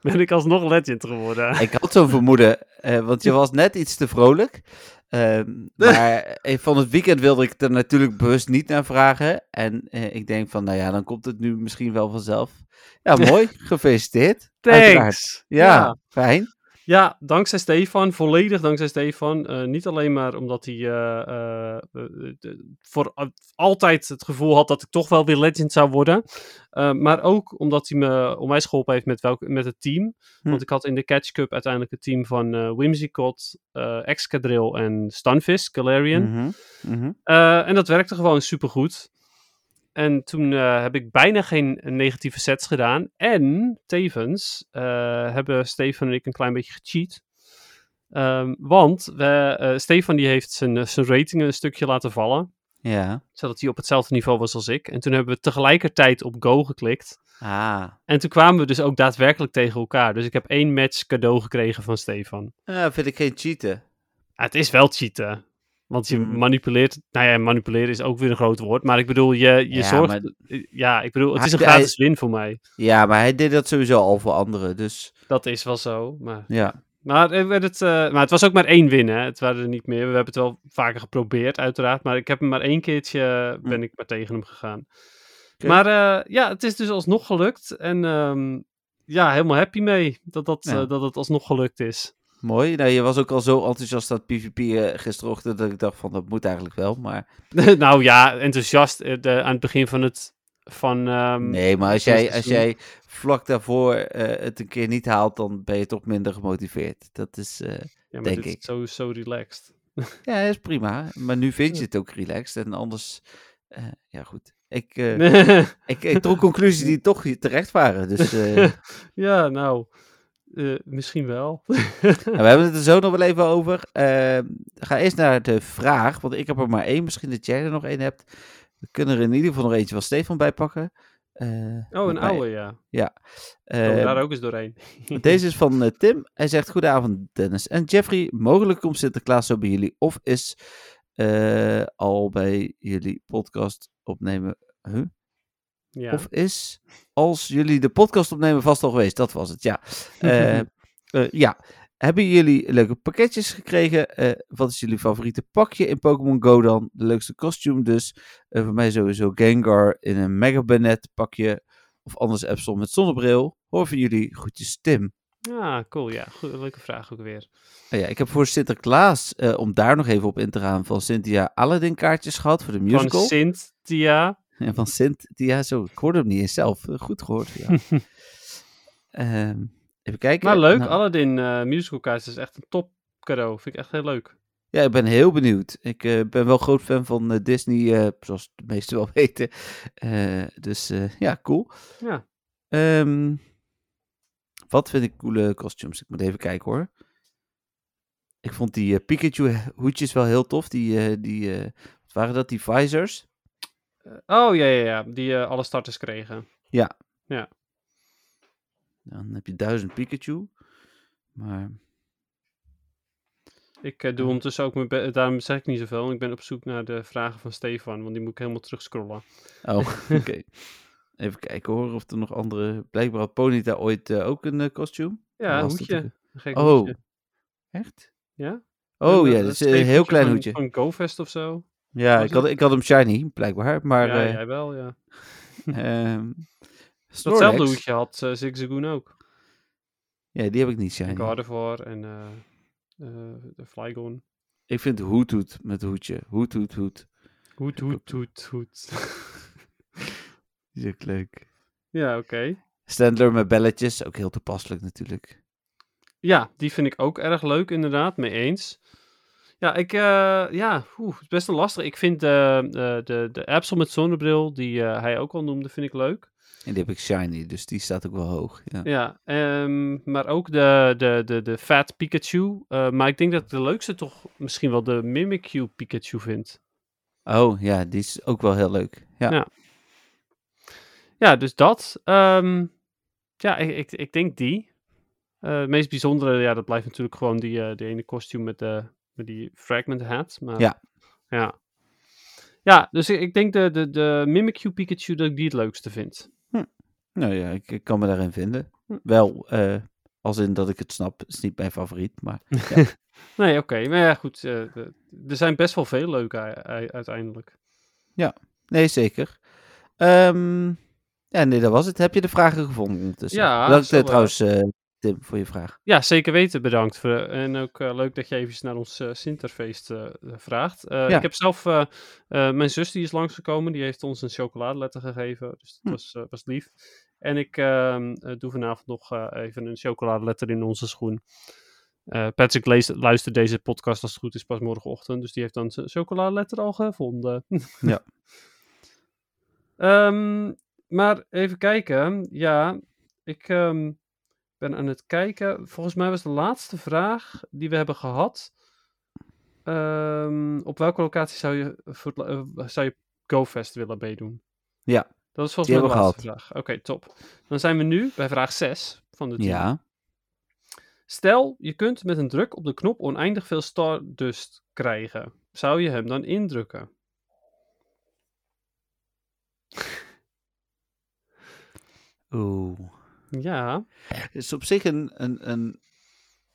D: ben ik alsnog legend geworden.
A: Ik had zo'n vermoeden, eh, want je was net iets te vrolijk. Ehm, maar eh, van het weekend wilde ik er natuurlijk bewust niet naar vragen. En eh, ik denk van, nou ja, dan komt het nu misschien wel vanzelf. Ja, mooi. Gefeliciteerd. Uiteraard.
D: Thanks!
A: Ja,
D: Ja.
A: fijn.
D: Ja, dankzij Stefan, volledig dankzij Stefan. Eh, niet alleen maar omdat hij eh, eh, eh, de- voor al- altijd het gevoel had dat ik toch wel weer legend zou worden. Eh, maar ook omdat hij me onwijs geholpen heeft met, welk, met het team.
A: Hm.
D: Want ik had in de Catch Cup uiteindelijk het team van eh Whimsicott, eh Excadrill en Stunfisk, Galarian.
A: Mhm, mhm.
D: Eh, en dat werkte gewoon supergoed. En toen eh, heb ik bijna geen negatieve sets gedaan. En tevens eh, hebben Steven en ik een klein beetje gecheat. Eh, Ehm, want we, eh, Stefan die heeft zijn, eh, zijn ratingen een stukje laten vallen.
A: Ja.
D: Zodat hij op hetzelfde niveau was als ik. En toen hebben we tegelijkertijd op go geklikt.
A: Ah.
D: En toen kwamen we dus ook daadwerkelijk tegen elkaar. Dus ik heb één match cadeau gekregen van Stefan.
A: Ja, vind ik geen cheaten.
D: Ja, het is wel cheaten. Want je
A: Mm.
D: manipuleert. Nou ja, manipuleren is ook weer een groot woord. Maar ik bedoel, je, je
A: Ja,
D: zorgt. eh,
A: maar-
D: Ja, ik bedoel, het
A: Maar
D: is een
A: hij-
D: gratis win voor mij.
A: Ja, maar hij deed dat sowieso al voor anderen, dus
D: Dat is wel zo. Maar,
A: ja.
D: maar, er werd het, eh, maar het was ook maar één win, hè? Het waren er niet meer. We hebben het wel vaker geprobeerd, uiteraard. Maar ik heb hem maar één keertje. eh, ben ik maar tegen hem gegaan.
A: Mm. Oké.
D: Maar eh, ja, het is dus alsnog gelukt. En ehm, ja, helemaal happy mee dat, dat,
A: Ja.
D: eh, dat het alsnog gelukt is.
A: Mooi. Nou, je was ook al zo enthousiast dat PvP eh, gisterochtend dat ik dacht van dat moet eigenlijk wel, maar
D: nou ja, enthousiast eh, de- aan het begin van het. Van, ehm,
A: nee, maar als
D: dat
A: jij,
D: is
A: als
D: een-
A: jij vlak daarvoor eh, het een keer niet haalt, dan ben je toch minder gemotiveerd. Dat is, eh,
D: ja, maar
A: denk
D: dit
A: ik.
D: Is zo, zo relaxed.
A: ja, is prima. Maar nu vind je het ook relaxed en anders, eh, ja goed. Ik, eh, ik, ik trok conclusies die toch terecht waren, dus eh,
D: ja, nou. eh, misschien wel.
A: Nou, we hebben het er zo nog wel even over. Eh, ga eerst naar de vraag, want ik heb er maar één. Misschien dat jij er nog één hebt. We kunnen er in ieder geval nog eentje van Stefan bij pakken. Eh,
D: Oh, een
A: bij-
D: oude, Oh, ja.
A: eh,
D: Komen we daar ook eens doorheen.
A: deze is van eh, Tim. Hij zegt, goedenavond Dennis en Jeffrey. Mogelijk komt Sinterklaas zo bij jullie of is eh, al bij jullie podcast opnemen. Huh?
D: Ja.
A: Of is, als jullie de podcast opnemen, vast al geweest. Dat was het, ja. Eh, eh, ja. Hebben jullie leuke pakketjes gekregen? Eh, wat is jullie favoriete pakje in Pokémon Go dan? De leukste costume dus. Eh, voor mij sowieso Gengar in een Mega Banette pakje. Of anders Epson met zonnebril. Hoor van jullie. Groetjes Tim.
D: Ah, cool, ja. Goe- leuke vraag ook weer.
A: Nou ja, ik heb voor Sinterklaas, eh, om daar nog even op in te gaan, van Cynthia Aladdin kaartjes gehad voor de musical.
D: Van Cynthia.
A: En van Sint, die, ja, zo, ik hoorde hem niet eens zelf. Eh, Goed gehoord, ja. Ehm, even kijken.
D: Maar leuk,
A: Nou,
D: Aladdin eh musical kaart is echt een top cadeau. Vind ik echt heel leuk.
A: Ja, ik ben heel benieuwd. Ik eh, ben wel groot fan van eh, Disney, eh, zoals de meesten wel weten. Eh, dus eh, ja, cool.
D: Ja.
A: Ehm, wat vind ik coole costumes? Ik moet even kijken hoor. Ik vond die eh, Pikachu hoedjes wel heel tof. Die, eh, die eh, wat waren dat? Die visors?
D: Oh, ja, ja, ja. Die eh, alle starters kregen.
A: Dan heb je duizend Pikachu. Maar
D: Ik eh,
A: Mhm.
D: doe ondertussen ook mijn be- Daarom zeg ik niet zoveel. want Ik ben op zoek naar de vragen van Stefan. Want die moet ik helemaal terugscrollen.
A: Oh, oké. Even kijken hoor, of er nog andere... Blijkbaar had Ponyta ooit eh, ook een eh, kostuum.
D: Ja,
A: Was dat
D: hoedje.
A: ook-
D: Een gek
A: Oh,
D: hoedje.
A: echt?
D: Ja?
A: Oh
D: Een,
A: ja,
D: eh,
A: dat is
D: streephoedje
A: een heel klein
D: van-
A: hoedje.
D: Van GoFest of zo.
A: Ja,
D: was
A: ik had, ik had hem shiny, blijkbaar. Maar
D: ja,
A: eh
D: jij wel, ja.
A: ehm,
D: Datzelfde
A: Snorlax,
D: hoedje had eh, Zigzagoon ook.
A: ja, die heb ik niet
D: En
A: shiny.
D: Gardevoir en eh, eh, de Flygon.
A: Ik vind Hoetoet met hoedje. Hoetoet, hoed.
D: Hoed, hoed, hoed, hoed.
A: Die is ook leuk.
D: ja, oké.
A: Standler met belletjes, ook heel toepasselijk natuurlijk.
D: Ja, die vind ik ook erg leuk, inderdaad. Mee eens. Ja, ik, eh, ja, oeh, het is best wel lastig. Ik vind de, de, de, de Epson met zonnebril, die eh, hij ook al noemde, vind ik leuk.
A: En die heb ik shiny, dus die staat ook wel hoog. Ja.
D: Ja, ehm, maar ook de, de, de, de Fat Pikachu. eh, maar ik denk dat ik de leukste toch misschien wel de Mimikyu Pikachu vind.
A: Oh ja, die is ook wel heel leuk. Ja.
D: Ja. Ja, dus dat. ehm, ja, ik, ik, ik denk die. Eh het meest bijzondere, ja, dat blijft natuurlijk gewoon die, eh die ene kostuum met, de, met die fragment hat. Maar,
A: Ja.
D: ja. Ja, dus ik, ik denk de, de, de Mimikyu Pikachu dat ik die het leukste vind.
A: Nou ja, ik, ik kan me daarin vinden. Wel, eh, als in dat ik het snap, is niet mijn favoriet, maar ja.
D: Nee, oké. Maar ja, goed. eh, de- er zijn best wel veel leuke u- u- uiteindelijk.
A: nee, zeker. Ehm, ja, nee, dat was het. Heb je de vragen gevonden ondertussen?
D: Ja,
A: Bedankt
D: zo,
A: eh,
D: eh,
A: trouwens, eh, Tim, voor je vraag.
D: Ja, zeker weten. Bedankt. Voor, en ook eh, leuk dat je even naar ons eh, Sinterfeest eh, vraagt. Eh,
A: Ja.
D: Ik heb zelf... eh, eh, mijn zus die is langsgekomen. Die heeft ons een chocoladeletter gegeven. Dus dat
A: Hm.
D: was, eh, was lief. En ik ehm, eh, doe vanavond nog eh, even een chocoladeletter in onze schoen. Eh, Patrick leest, luistert deze podcast als het goed is pas morgenochtend. Dus die heeft dan zijn chocoladeletter al gevonden.
A: Ja.
D: Ehm, maar even kijken. Ja, ik... ehm, ben aan het kijken. Volgens mij was de laatste vraag die we hebben gehad. ehm, op welke locatie zou je, voor het la- eh, zou je GoFest willen meedoen?
A: Ja.
D: Dat was volgens
A: Die
D: mij de
A: hebben we
D: laatste vraag. Oké, top. Dan zijn we nu bij vraag 6 van de 10.
A: Ja.
D: Stel, je kunt met een druk op de knop oneindig veel Stardust krijgen. Zou je hem dan indrukken?
A: Oeh.
D: Ja,
A: Het is op zich een, een, een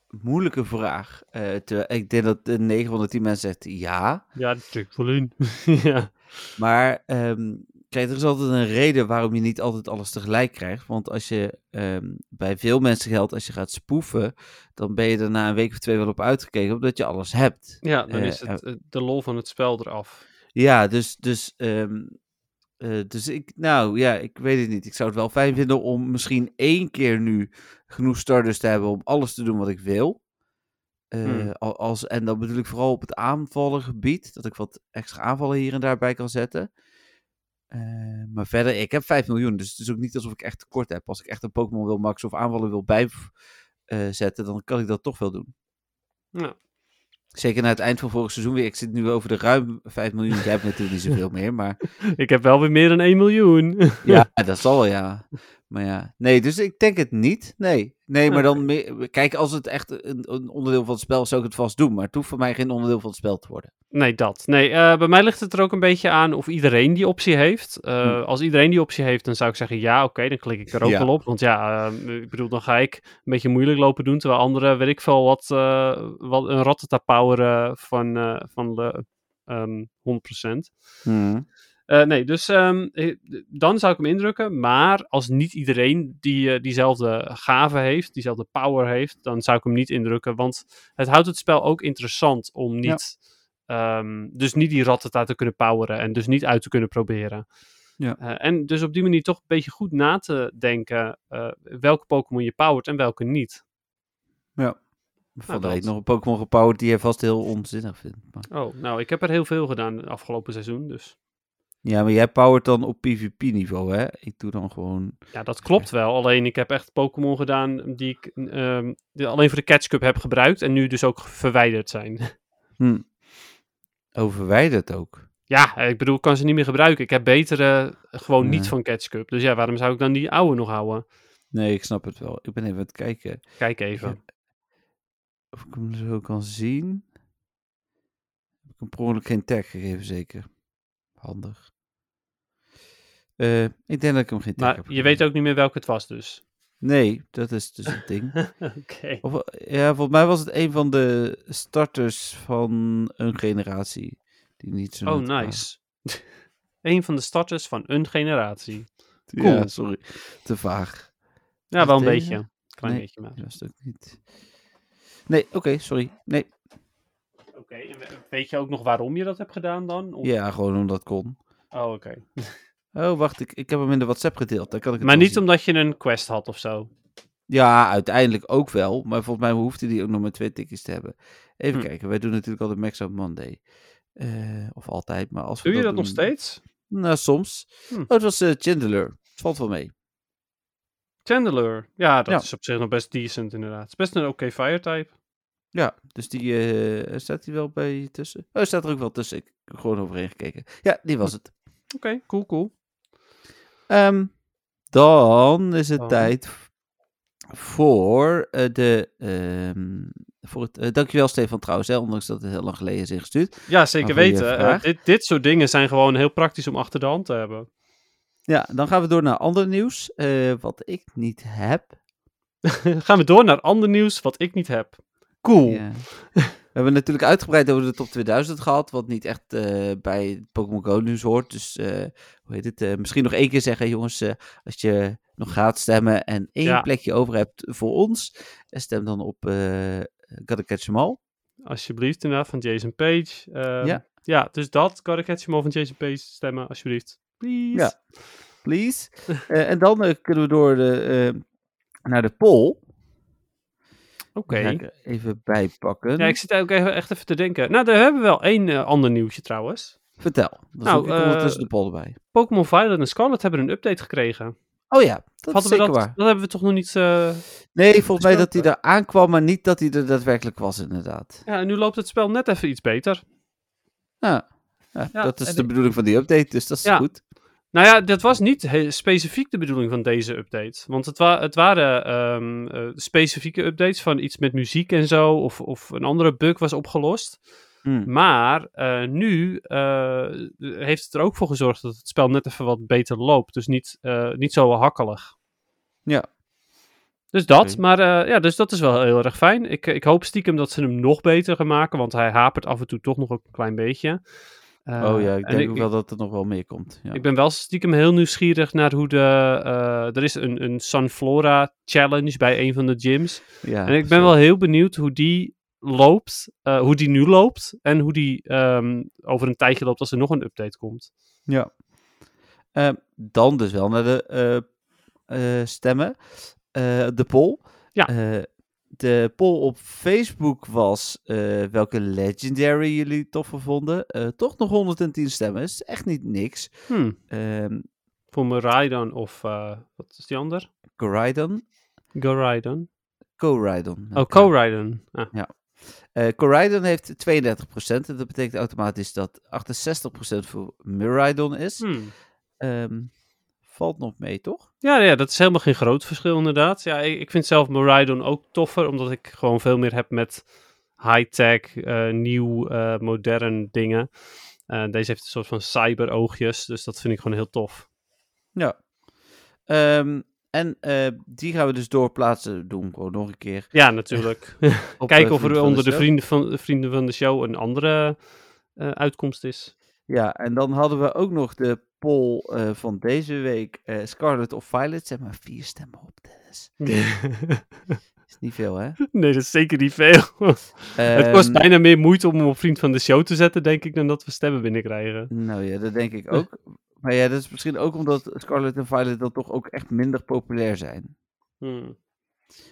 A: moeilijke vraag. Eh, terwijl ik denk dat de 9 van de 10 mensen zegt ja.
D: ja, dat druk wel in. ja.
A: Maar ehm, kijk, er is altijd een reden waarom je niet altijd alles tegelijk krijgt. Want als je ehm, bij veel mensen geldt, als je gaat spoeven, dan ben je er na een week of twee wel op uitgekeken, omdat je alles hebt.
D: ja, dan
A: Eh,
D: is het eh, de lol van het spel eraf.
A: Ja, dus, dus, ehm, eh, dus ik, nou ja, ik weet het niet. Ik zou het wel fijn vinden om misschien één keer nu genoeg starters te hebben om alles te doen wat ik wil. Eh,
D: Hmm.
A: al- als, en dan bedoel ik vooral op het aanvallengebied, dat ik wat extra aanvallen hier en daar bij kan zetten. Eh, maar verder, ik heb 5 miljoen, dus het is ook niet alsof ik echt tekort heb. Als ik echt een Pokémon wil maxen of aanvallen wil bijzetten, dan kan ik dat toch wel doen.
D: Ja.
A: Zeker na het eind van vorig seizoen weer. Ik zit nu over de ruim 5 miljoen. Jij hebt natuurlijk niet zoveel meer, maar
D: Ik heb wel weer meer dan 1 miljoen.
A: ja, dat zal wel, ja. Maar ja, nee, dus ik denk het niet. Nee, nee maar dan... meer- Kijk, als het echt een, een onderdeel van het spel is, zou ik het vast doen. Maar het hoeft voor mij geen onderdeel van het spel te worden.
D: Nee, dat. Nee, eh, bij mij ligt het er ook een beetje aan of iedereen die optie heeft. Eh,
A: Hm.
D: Als iedereen die optie heeft, dan zou ik zeggen ja, oké, dan klik ik er ook
A: Ja.
D: wel op. Want ja, ehm, ik bedoel, dan ga ik een beetje moeilijk lopen doen, terwijl anderen, weet ik veel, wat, eh, wat een rattata power van, eh, van de ehm 100%. Eh, nee, dus ehm, eh, d- dan zou ik hem indrukken. Maar als niet iedereen die eh, diezelfde gave heeft, diezelfde power heeft, dan zou ik hem niet indrukken. Want het houdt het spel ook interessant om niet, ehm, dus niet die rattata te kunnen poweren en dus niet uit te kunnen proberen.
A: Ja.
D: Eh, en dus op die manier toch een beetje goed na te denken eh, welke Pokémon je powert en welke niet.
A: Van de
D: dat.
A: week nog een Pokémon gepowerd die jij vast heel onzinnig vindt. Maar...
D: Oh, nou, ik heb er heel veel gedaan het afgelopen seizoen, dus.
A: Ja, maar jij powert dan op PvP-niveau, hè? Ik doe dan gewoon...
D: Ja, dat klopt wel. Alleen ik heb echt Pokémon gedaan die ik ehm, die alleen voor de Catch Cup heb gebruikt. En nu dus ook verwijderd zijn.
A: Hm. Overwijderd ook.
D: ja, eh, ik bedoel, ik kan ze niet meer gebruiken. Ik heb betere eh, gewoon niet
A: Nee.
D: van Catch Cup. Dus ja, waarom zou ik dan die oude nog houden?
A: Nee, ik snap het wel. Ik ben even aan het kijken
D: Kijk even.
A: of ik hem zo kan zien. Heb ik hem per ongeluk geen tag gegeven, zeker. Handig. Eh, ik denk dat ik hem geen tag
D: maar
A: heb
D: je
A: gegeven.
D: weet ook niet meer welke het was dus. Oh,
A: Nee, dat is dus het ding.
D: Oké.
A: Of, eh, ja, volgens mij was het een van de starters van een generatie. Die niet zo
D: Oh,
A: net waren.
D: nice. Eén van de starters van een generatie.
A: Ja,
D: Cool.
A: sorry. Te vaag.
D: Ja, wel een
A: Deze?
D: beetje. Klein
A: Nee.
D: beetje maar.
A: Dat was het ook niet. Nee, oké, sorry. Nee,
D: Oké, weet je ook nog waarom je dat hebt gedaan dan?
A: ja, gewoon omdat het kon.
D: Oh, oké.
A: Oh, wacht, ik, ik heb hem in de WhatsApp gedeeld. Dan kan ik het
D: Maar
A: wel
D: niet
A: zien.
D: omdat je een quest had of zo.
A: Ja, uiteindelijk ook wel. Maar volgens mij hoefde die ook nog maar twee tikjes te hebben. Even
D: Hm.
A: kijken, wij doen natuurlijk altijd Max Out Monday. Eh, of altijd, maar als we
D: Doe je dat nog
A: doen-
D: steeds?
A: Nou, soms.
D: Hm.
A: Oh, het was eh Chandler. Het valt wel mee.
D: Chandler. Ja, dat
A: Ja.
D: is op zich nog best decent inderdaad. Het is best een oké fire type.
A: Ja, dus die eh, staat hij wel bij tussen. Oh, hij staat er ook wel tussen. Ik heb er gewoon overheen gekeken. Ja, die
D: Hm.
A: was het.
D: Oké, cool, cool.
A: Ehm, dan is het
D: Dan.
A: tijd voor eh, de. ehm, voor het, eh, dankjewel, Stefan, trouwens, hè, ondanks dat het heel lang geleden is ingestuurd.
D: Ja, zeker
A: Een goeie
D: weten. Eh,
A: vraag.
D: dit, dit soort dingen zijn gewoon heel praktisch om achter de hand te hebben.
A: Ja, dan gaan we door naar ander nieuws. eh, wat ik niet heb.
D: Gaan we door naar ander nieuws wat ik niet heb. Cool.
A: Ja. We hebben natuurlijk uitgebreid over de top 2000 gehad, wat niet echt eh, bij Pokémon Go nieuws hoort. Dus eh, hoe heet het? eh, misschien nog één keer zeggen, jongens, eh, als je nog gaat stemmen en één
D: Ja.
A: plekje over hebt voor ons, eh, stem dan op eh Gotta Catch 'Em All.
D: Alsjeblieft, inderdaad, van Jason Page. Ehm,
A: Ja.
D: ja, dus dat. Gotta catch him all van Jason Page stemmen, alsjeblieft. Please.
A: Ja. Please. Eh, en dan eh, kunnen we door de, eh, naar de poll.
D: Oké.
A: Die Ga ik er even bijpakken.
D: Ja, ik zit ook even, echt even te denken. Nou, daar hebben we wel één eh, ander nieuwtje trouwens.
A: Vertel. Dan
D: Nou,
A: zoek ik ondertussen de
D: eh,
A: poll erbij.
D: Pokémon Violet en Scarlet hebben een update gekregen.
A: Oh ja, dat is
D: Hadden we
A: zeker
D: dat,
A: waar.
D: dat hebben we toch nog niet... eh,
A: Nee, volgens mij dat hij
D: gesproken.
A: er aankwam, maar niet dat hij er daadwerkelijk was, inderdaad.
D: Ja, en nu loopt het spel net even iets beter.
A: Ja,
D: Ja,
A: dat is
D: en
A: de
D: ik-
A: bedoeling van die update, dus dat is
D: Ja.
A: goed.
D: Nou ja, dat was niet he- specifiek de bedoeling van deze update. Want het, wa- het waren ehm, eh, specifieke updates van iets met muziek en zo. Of, of een andere bug was opgelost.
A: Hm.
D: Maar eh, nu eh, heeft het er ook voor gezorgd dat het spel net even wat beter loopt. Dus niet, eh, niet zo hakkelig.
A: Ja.
D: Dus dat,
A: Oké.
D: maar eh, ja, dus dat is wel heel erg fijn. Ik, eh, ik hoop stiekem dat ze hem nog beter gaan maken, want hij hapert af en toe toch nog een klein beetje. Eh,
A: oh ja, ik
D: en
A: denk ook wel dat er nog wel meer komt. Ja.
D: ik ben wel stiekem heel nieuwsgierig naar hoe de. eh, er is een, een Sunflora challenge bij een van de gyms.
A: Ja,
D: en ik ben wel heel benieuwd hoe die loopt. eh, hoe die nu loopt. En hoe die ehm, over een tijdje loopt als er nog een update komt.
A: Ja. Ehm, dan dus wel naar de eh, eh, stemmen. Eh, de poll.
D: Ja.
A: Eh, de poll op Facebook was eh, welke Legendary jullie toffer vonden. Eh, toch nog 110 stemmen. Is echt niet niks.
D: Hmm,
A: Ehm
D: voor Miraidon of. eh, wat is die ander?
A: Coridon.
D: Goraidon.
A: Coridon.
D: Oh, Koraidon. Ah,
A: Eh, Coridon heeft 32%. En dat betekent automatisch dat 68% voor Muridon is.
D: hmm.
A: Ehm, valt nog mee, toch?
D: Ja, ja, dat is helemaal geen groot verschil inderdaad. Ja, ik, ik vind zelf Miraidon ook toffer, omdat ik gewoon veel meer heb met high-tech, eh, nieuw, eh, modern dingen. Eh, deze heeft een soort van cyber-oogjes, dus dat vind ik gewoon heel tof.
A: Ja. Ehm, en eh, die gaan we dus doorplaatsen. Doen we gewoon nog een keer.
D: Ja, natuurlijk.
A: Op, eh,
D: Kijken of
A: Vriend
D: er
A: van
D: onder de
A: Show.
D: vrienden van, vrienden van de show een andere eh, uitkomst is.
A: Ja, en dan hadden we ook nog de poll eh, van deze week. eh, Scarlet of Violet. Zeg maar vier stemmen op, Dennis. Is niet veel, hè?
D: nee, dat is zeker niet veel. Het kost
A: Ehm,
D: bijna meer moeite om hem op vriend van de show te zetten, denk ik, dan dat we stemmen binnenkrijgen.
A: Nou ja, dat denk ik ook. Maar ja, dat is misschien ook omdat Scarlet en Violet dan toch ook echt minder populair zijn.
D: Hmm.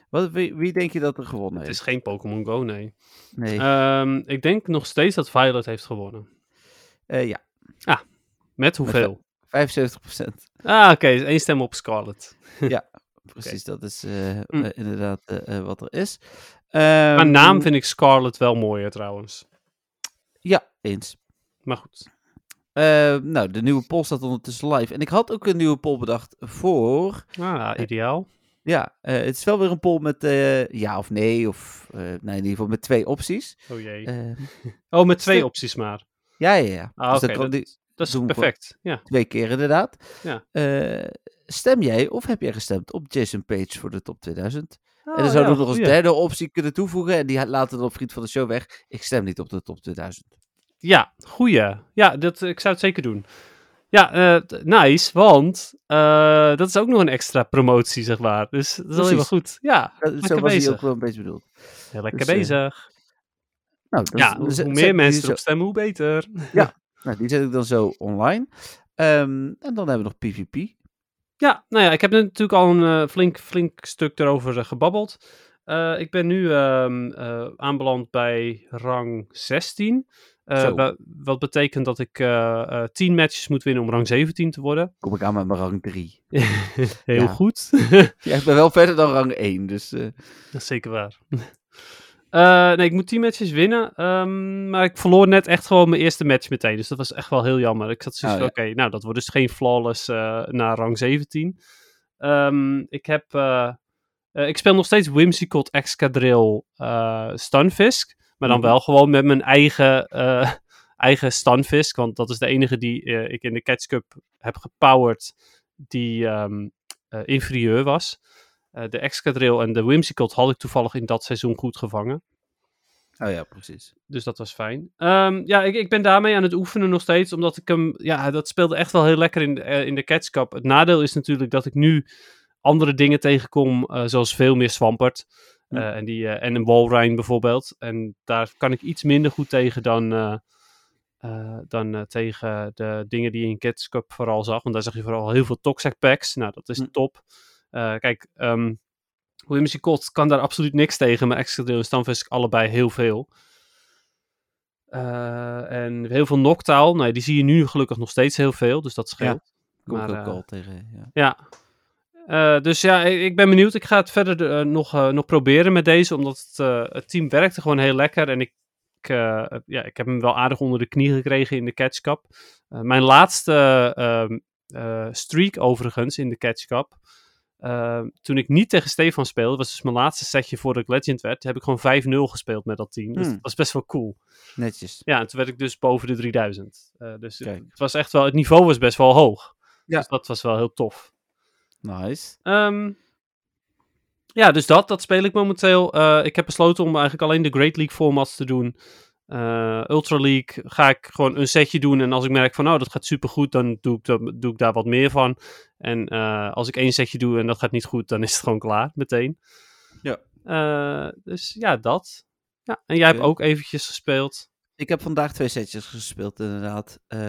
A: Wat, wie, wie denk je dat er gewonnen
D: Het
A: heeft?
D: is geen Pokémon Go, nee.
A: Nee,
D: Ehm, ik denk nog steeds dat Violet heeft gewonnen.
A: eh, ja,
D: Met hoeveel?
A: 75 procent.
D: Ah, oké. dus één stem op Scarlet.
A: Precies, dat is eh,
D: Mm.
A: eh, inderdaad eh, eh, wat er is.
D: Qua
A: Ehm,
D: naam vind ik Scarlet wel mooier trouwens.
A: Ja, eens.
D: Maar goed.
A: Ehm, nou, de nieuwe poll staat ondertussen live. En ik had ook een nieuwe poll bedacht voor... Eh,
D: Ah, ideaal.
A: Ja, eh, het is wel weer een poll met eh, ja of nee. Of eh, nou, in ieder geval met twee opties.
D: Oh jee.
A: Eh,
D: Oh, met twee
A: stem-
D: opties maar.
A: ja, ja, ja. Dus
D: Ah, oké.
A: dan kan
D: dat,
A: die-
D: dat is
A: doen we gewoon.
D: perfect. Ja.
A: Twee keer inderdaad.
D: Ja.
A: Eh, stem jij of heb jij gestemd op Jason Page voor de top 2000? en
D: Oh,
A: dan zouden
D: ja,
A: we nog als
D: goeie.
A: derde optie kunnen toevoegen. En die ha- laten we op Vriend van de Show weg. Ik stem niet op de top 2000.
D: Ja, goeie. Ja, dat, ik zou het zeker doen. Ja, eh, t- nice, want eh, dat is ook nog een extra promotie, zeg maar. Dus dat is alleen maar
A: Precies.
D: goed. Ja,
A: Dat, zo
D: lekker
A: was hij ook
D: bezig.
A: wel een beetje bedoeld.
D: Heel lekker
A: dus, eh,
D: bezig.
A: Nou, dat-
D: Ja,
A: dan zet-
D: hoe
A: zet
D: meer
A: ik
D: mensen
A: die
D: erop
A: zo-
D: stemmen, hoe beter.
A: nou, die zet ik dan zo online. Ehm, en dan hebben we nog PvP.
D: Ja, nou ja, ik heb natuurlijk al een eh, flink, flink stuk erover eh, gebabbeld. Eh, ik ben nu ehm, eh, aanbeland bij rang 16. Eh,
A: Zo.
D: wa- wat betekent dat ik eh eh 10 matches moet winnen om rang 17 te worden.
A: Kom ik aan met mijn rang 3.
D: Heel
A: Ja.
D: goed.
A: Ja, ik ben wel verder dan rang 1. Dus eh,
D: Dat is zeker waar. Eh, nee, ik moet 10 matches winnen. ehm, maar ik verloor net echt gewoon mijn eerste match meteen. Dus dat was echt wel heel jammer. Ik zat zoiets
A: Oh,
D: van, oké, nou, dat wordt dus geen flawless eh na rang 17. Ehm, ik heb... eh, eh, ik speel nog steeds Whimsicott Excadrill eh Stunfisk. Maar dan
A: Mhm.
D: wel gewoon met mijn eigen, eh, eigen Stunfisk. Want dat is de enige die eh, ik in de Catch Cup heb gepowered die ehm, eh, inferieur was. Eh, de Excadrill en de Whimsicott had ik toevallig in dat seizoen goed gevangen.
A: oh ja, precies.
D: Dus dat was fijn. Ehm, ja, ik, ik ben daarmee aan het oefenen nog steeds. Omdat ik hem. Ja, dat speelde echt wel heel lekker in, de- eh, in de Cats Cup. Het nadeel is natuurlijk dat ik nu andere dingen tegenkom. eh, zoals veel meer Swampert. eh, en, die, eh, en een Walrein bijvoorbeeld. En daar kan ik iets minder goed tegen dan. eh, eh, dan eh, tegen de dingen die je in Cats Cup vooral zag. Want daar zag je vooral heel veel Toxic Packs. Nou, dat is
A: Hm.
D: top. Eh, kijk, ehm Whimsicott kan daar absoluut niks tegen. Maar Excadrill en Stamfisk allebei heel veel. Eh, en heel veel Noctaal. nou Nee, die zie je nu gelukkig nog steeds heel veel, dus dat scheelt.
A: Kom
D: Maar,
A: ik ook
D: eh,
A: al tegen. Ja.
D: Ja. Eh, dus ja, ik, ik ben benieuwd. Ik ga het verder eh, nog, eh, nog proberen met deze, omdat het, eh, het team werkte gewoon heel lekker. En ik, ik, eh, ja, ik heb hem wel aardig onder de knie gekregen in de Catch Cup. Eh, mijn laatste ehm, eh, streak overigens in de Catch Cup, eh, toen ik niet tegen Stefan speelde, was dus mijn laatste setje voordat ik Legend werd, heb ik gewoon 5-0 gespeeld met dat team. Dus
A: Hmm.
D: dat was best wel cool.
A: Netjes.
D: Ja, en toen werd ik dus boven de 3000. Eh, dus
A: Kijk.
D: het, was echt wel, het niveau was best wel hoog.
A: Ja.
D: Dus dat was wel heel tof.
A: Nice.
D: Ehm, ja, dus dat, dat speel ik momenteel. Eh, ik heb besloten om eigenlijk alleen de Great League formats te doen. Eh, Ultra League ga ik gewoon een setje doen. En als ik merk van, oh, dat gaat supergoed, dan doe ik, da- doe ik daar wat meer van. En eh, als ik één setje doe en dat gaat niet goed, dan is het gewoon klaar, meteen.
A: Ja.
D: Eh, dus ja, dat. Ja, en jij
A: Oké.
D: hebt ook eventjes gespeeld.
A: Ik heb vandaag twee setjes gespeeld, inderdaad. Eh,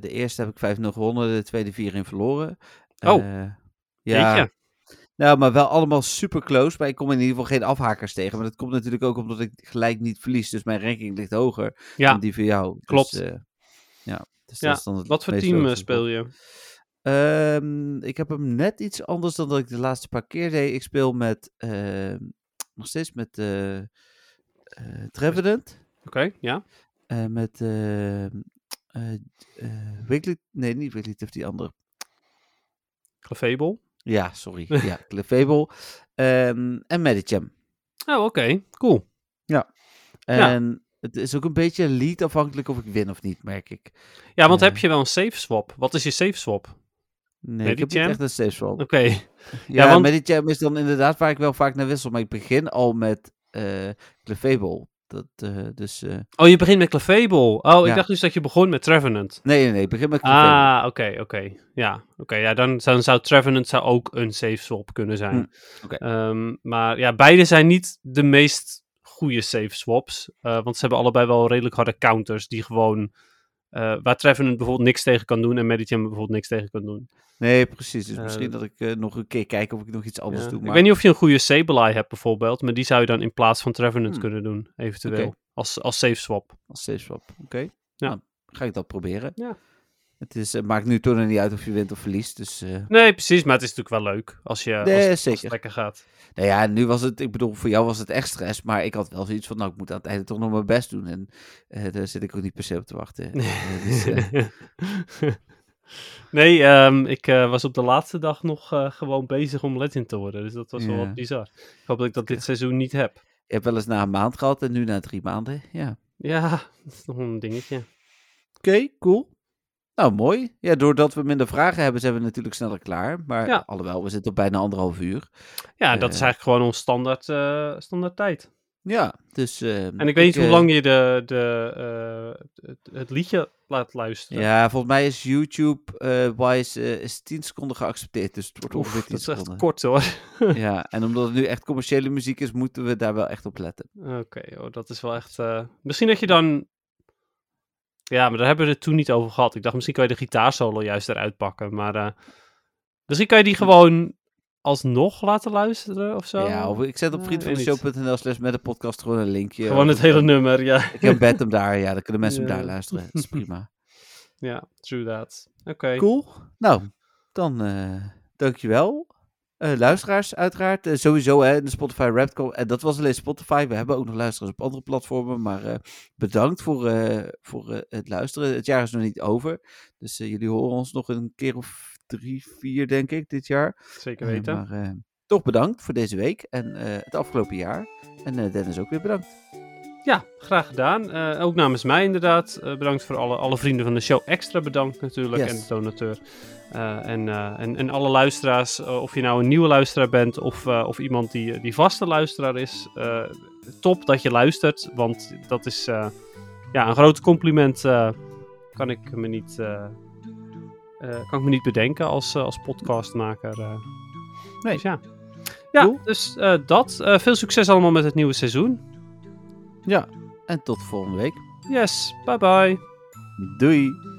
A: de eerste heb ik 5-0 gewonnen, de tweede 4-1 verloren.
D: Oh.
A: Eh, ja.
D: Jeetje.
A: Nou, maar wel allemaal super close. Maar ik kom in ieder geval geen afhakers tegen. Maar dat komt natuurlijk ook omdat ik gelijk niet verlies. Dus mijn ranking ligt hoger
D: Ja.
A: dan die van jou. Dus,
D: Klopt.
A: eh, ja, dus
D: Ja,
A: dat is dan het
D: Wat voor
A: meest
D: team eh,
A: logische
D: speel je?
A: Ehm, ik heb hem net iets anders dan dat ik de laatste paar keer deed. Ik speel met ehm, nog steeds met eh eh Trevenant.
D: Oké, ja.
A: eh, met eh, eh, eh, Wiggly. Nee, niet Wiggly, heeft die andere.
D: Clefable.
A: Ja, sorry. ja, Clefable. Ehm, en Medicham.
D: Oh, oké. Cool. Ja.
A: En het is ook een beetje lead afhankelijk of ik win of niet, merk ik.
D: Ja, want
A: Eh.
D: heb je wel een safe swap? Wat is je safe swap? Oké.
A: Nee, ik heb niet
D: Medicham?
A: echt een safe swap.
D: Ja,
A: Ja,
D: want-
A: Medicham is dan inderdaad waar ik wel vaak naar wissel. Maar ik begin al met eh Clefable. Dat, eh, dus, eh,
D: Oh, je begint met Clefable. Oh, ik
A: Ja.
D: dacht dus dat je begon met Trevenant.
A: nee, nee, nee, ik begin met Clefable.
D: Ah, oké, oké. Ja, oké. ja, dan, dan zou Trevenant zou ook een safe swap kunnen zijn.
A: Hm, oké.
D: Ehm, maar ja, beide zijn niet de meest goede safe swaps. eh, want ze hebben allebei wel redelijk harde counters die gewoon... eh, waar Trevenant bijvoorbeeld niks tegen kan doen en Medicham bijvoorbeeld niks tegen kan doen.
A: Nee, precies. Dus
D: Eh,
A: misschien dat ik eh, nog een keer kijk of ik nog iets anders
D: Ja.
A: doe.
D: Ik
A: Maar...
D: weet niet of je een goede Sableye hebt bijvoorbeeld, maar die zou je dan in plaats van Trevenant
A: Hmm.
D: kunnen doen, eventueel.
A: Oké.
D: Als, als safe swap.
A: Als safe swap. Oké.
D: Ja.
A: Nou, ga ik dat proberen.
D: Ja.
A: Het is, eh, maakt nu toch nog niet uit of je wint of verliest. Dus, eh,
D: Nee, precies, maar het is natuurlijk wel leuk als je als,
A: nee,
D: als het
A: zeker.
D: lekker gaat.
A: Nou ja, nu was het, ik bedoel, voor jou was het echt stress. Maar ik had wel zoiets van, nou, ik moet aan het einde toch nog mijn best doen. En eh, daar zit ik ook niet per se op te wachten. Eh, dus, eh,
D: nee, ehm, ik eh, was op de laatste dag nog eh, gewoon bezig om legend te worden, dus dat was wel
A: Ja.
D: wat bizar. Ik hoop dat ik dat dit seizoen niet heb.
A: je hebt wel eens na een maand gehad en nu na drie maanden. Ja.
D: Ja, dat is nog een dingetje.
A: Oké, cool. Nou, mooi. Ja, doordat we minder vragen hebben, zijn we natuurlijk sneller klaar. Maar
D: Ja.
A: alhoewel, we zitten op bijna anderhalf uur.
D: Ja, dat is
A: Eh.
D: eigenlijk gewoon ons standaard, eh, standaard tijd.
A: Ja, dus... eh,
D: En ik weet niet hoe
A: eh,
D: lang je de, de, eh, het, het liedje laat luisteren.
A: Ja, volgens mij is YouTube eh Wise eh, is 10 seconden geaccepteerd. Dus het wordt
D: Oef,
A: ongeveer 10
D: dat is echt
A: seconden.
D: kort hoor.
A: Ja, en omdat het nu echt commerciële muziek is, moeten we daar wel echt op letten.
D: Oké, oh, dat is wel echt... eh, Misschien dat je dan... Ja, maar daar hebben we het toen niet over gehad. Ik dacht, misschien kan je de gitaarsolo juist eruit pakken. Maar eh, misschien kan je die gewoon alsnog laten luisteren of zo.
A: Ja, of ik zet op
D: Ja,
A: vriendvandeshow.nl slash met de podcast gewoon een linkje.
D: Gewoon
A: Of
D: het hele nummer, ja.
A: Ik heb bed hem daar, ja, dan kunnen mensen
D: Ja.
A: hem daar luisteren. Dat is prima.
D: Ja, true that. Oké.
A: Cool. Nou, dan eh dankjewel. Eh, luisteraars, uiteraard. Eh, sowieso hè, in de Spotify Rapcom. En dat was alleen Spotify. We hebben ook nog luisteraars op andere platformen. Maar eh, bedankt voor, eh, voor eh, het luisteren. Het jaar is nog niet over. Dus eh, jullie horen ons nog een keer of drie, vier, denk ik, dit jaar.
D: Zeker
A: Eh,
D: weten.
A: maar eh, toch bedankt voor deze week en eh, het afgelopen jaar. En eh, Dennis ook weer bedankt.
D: Ja, graag gedaan. Eh, ook namens mij inderdaad. Eh, bedankt voor alle, alle vrienden van de show. Extra bedankt natuurlijk.
A: Yes.
D: En de donateur. Eh, en, eh, en, en alle luisteraars. eh, of je nou een nieuwe luisteraar bent of, eh, of iemand die, eh, die vaste luisteraar is. eh, top dat je luistert. Want dat is eh, ja, een groot compliment. eh, kan, ik me niet, eh, eh, kan ik me niet bedenken als, eh, als podcastmaker. eh.
A: Nee.
D: Dus ja. Ja,
A: Cool.
D: dus eh, dat. Eh, veel succes allemaal met het nieuwe seizoen.
A: Ja. En tot volgende week.
D: Yes, bye bye.
A: Doei.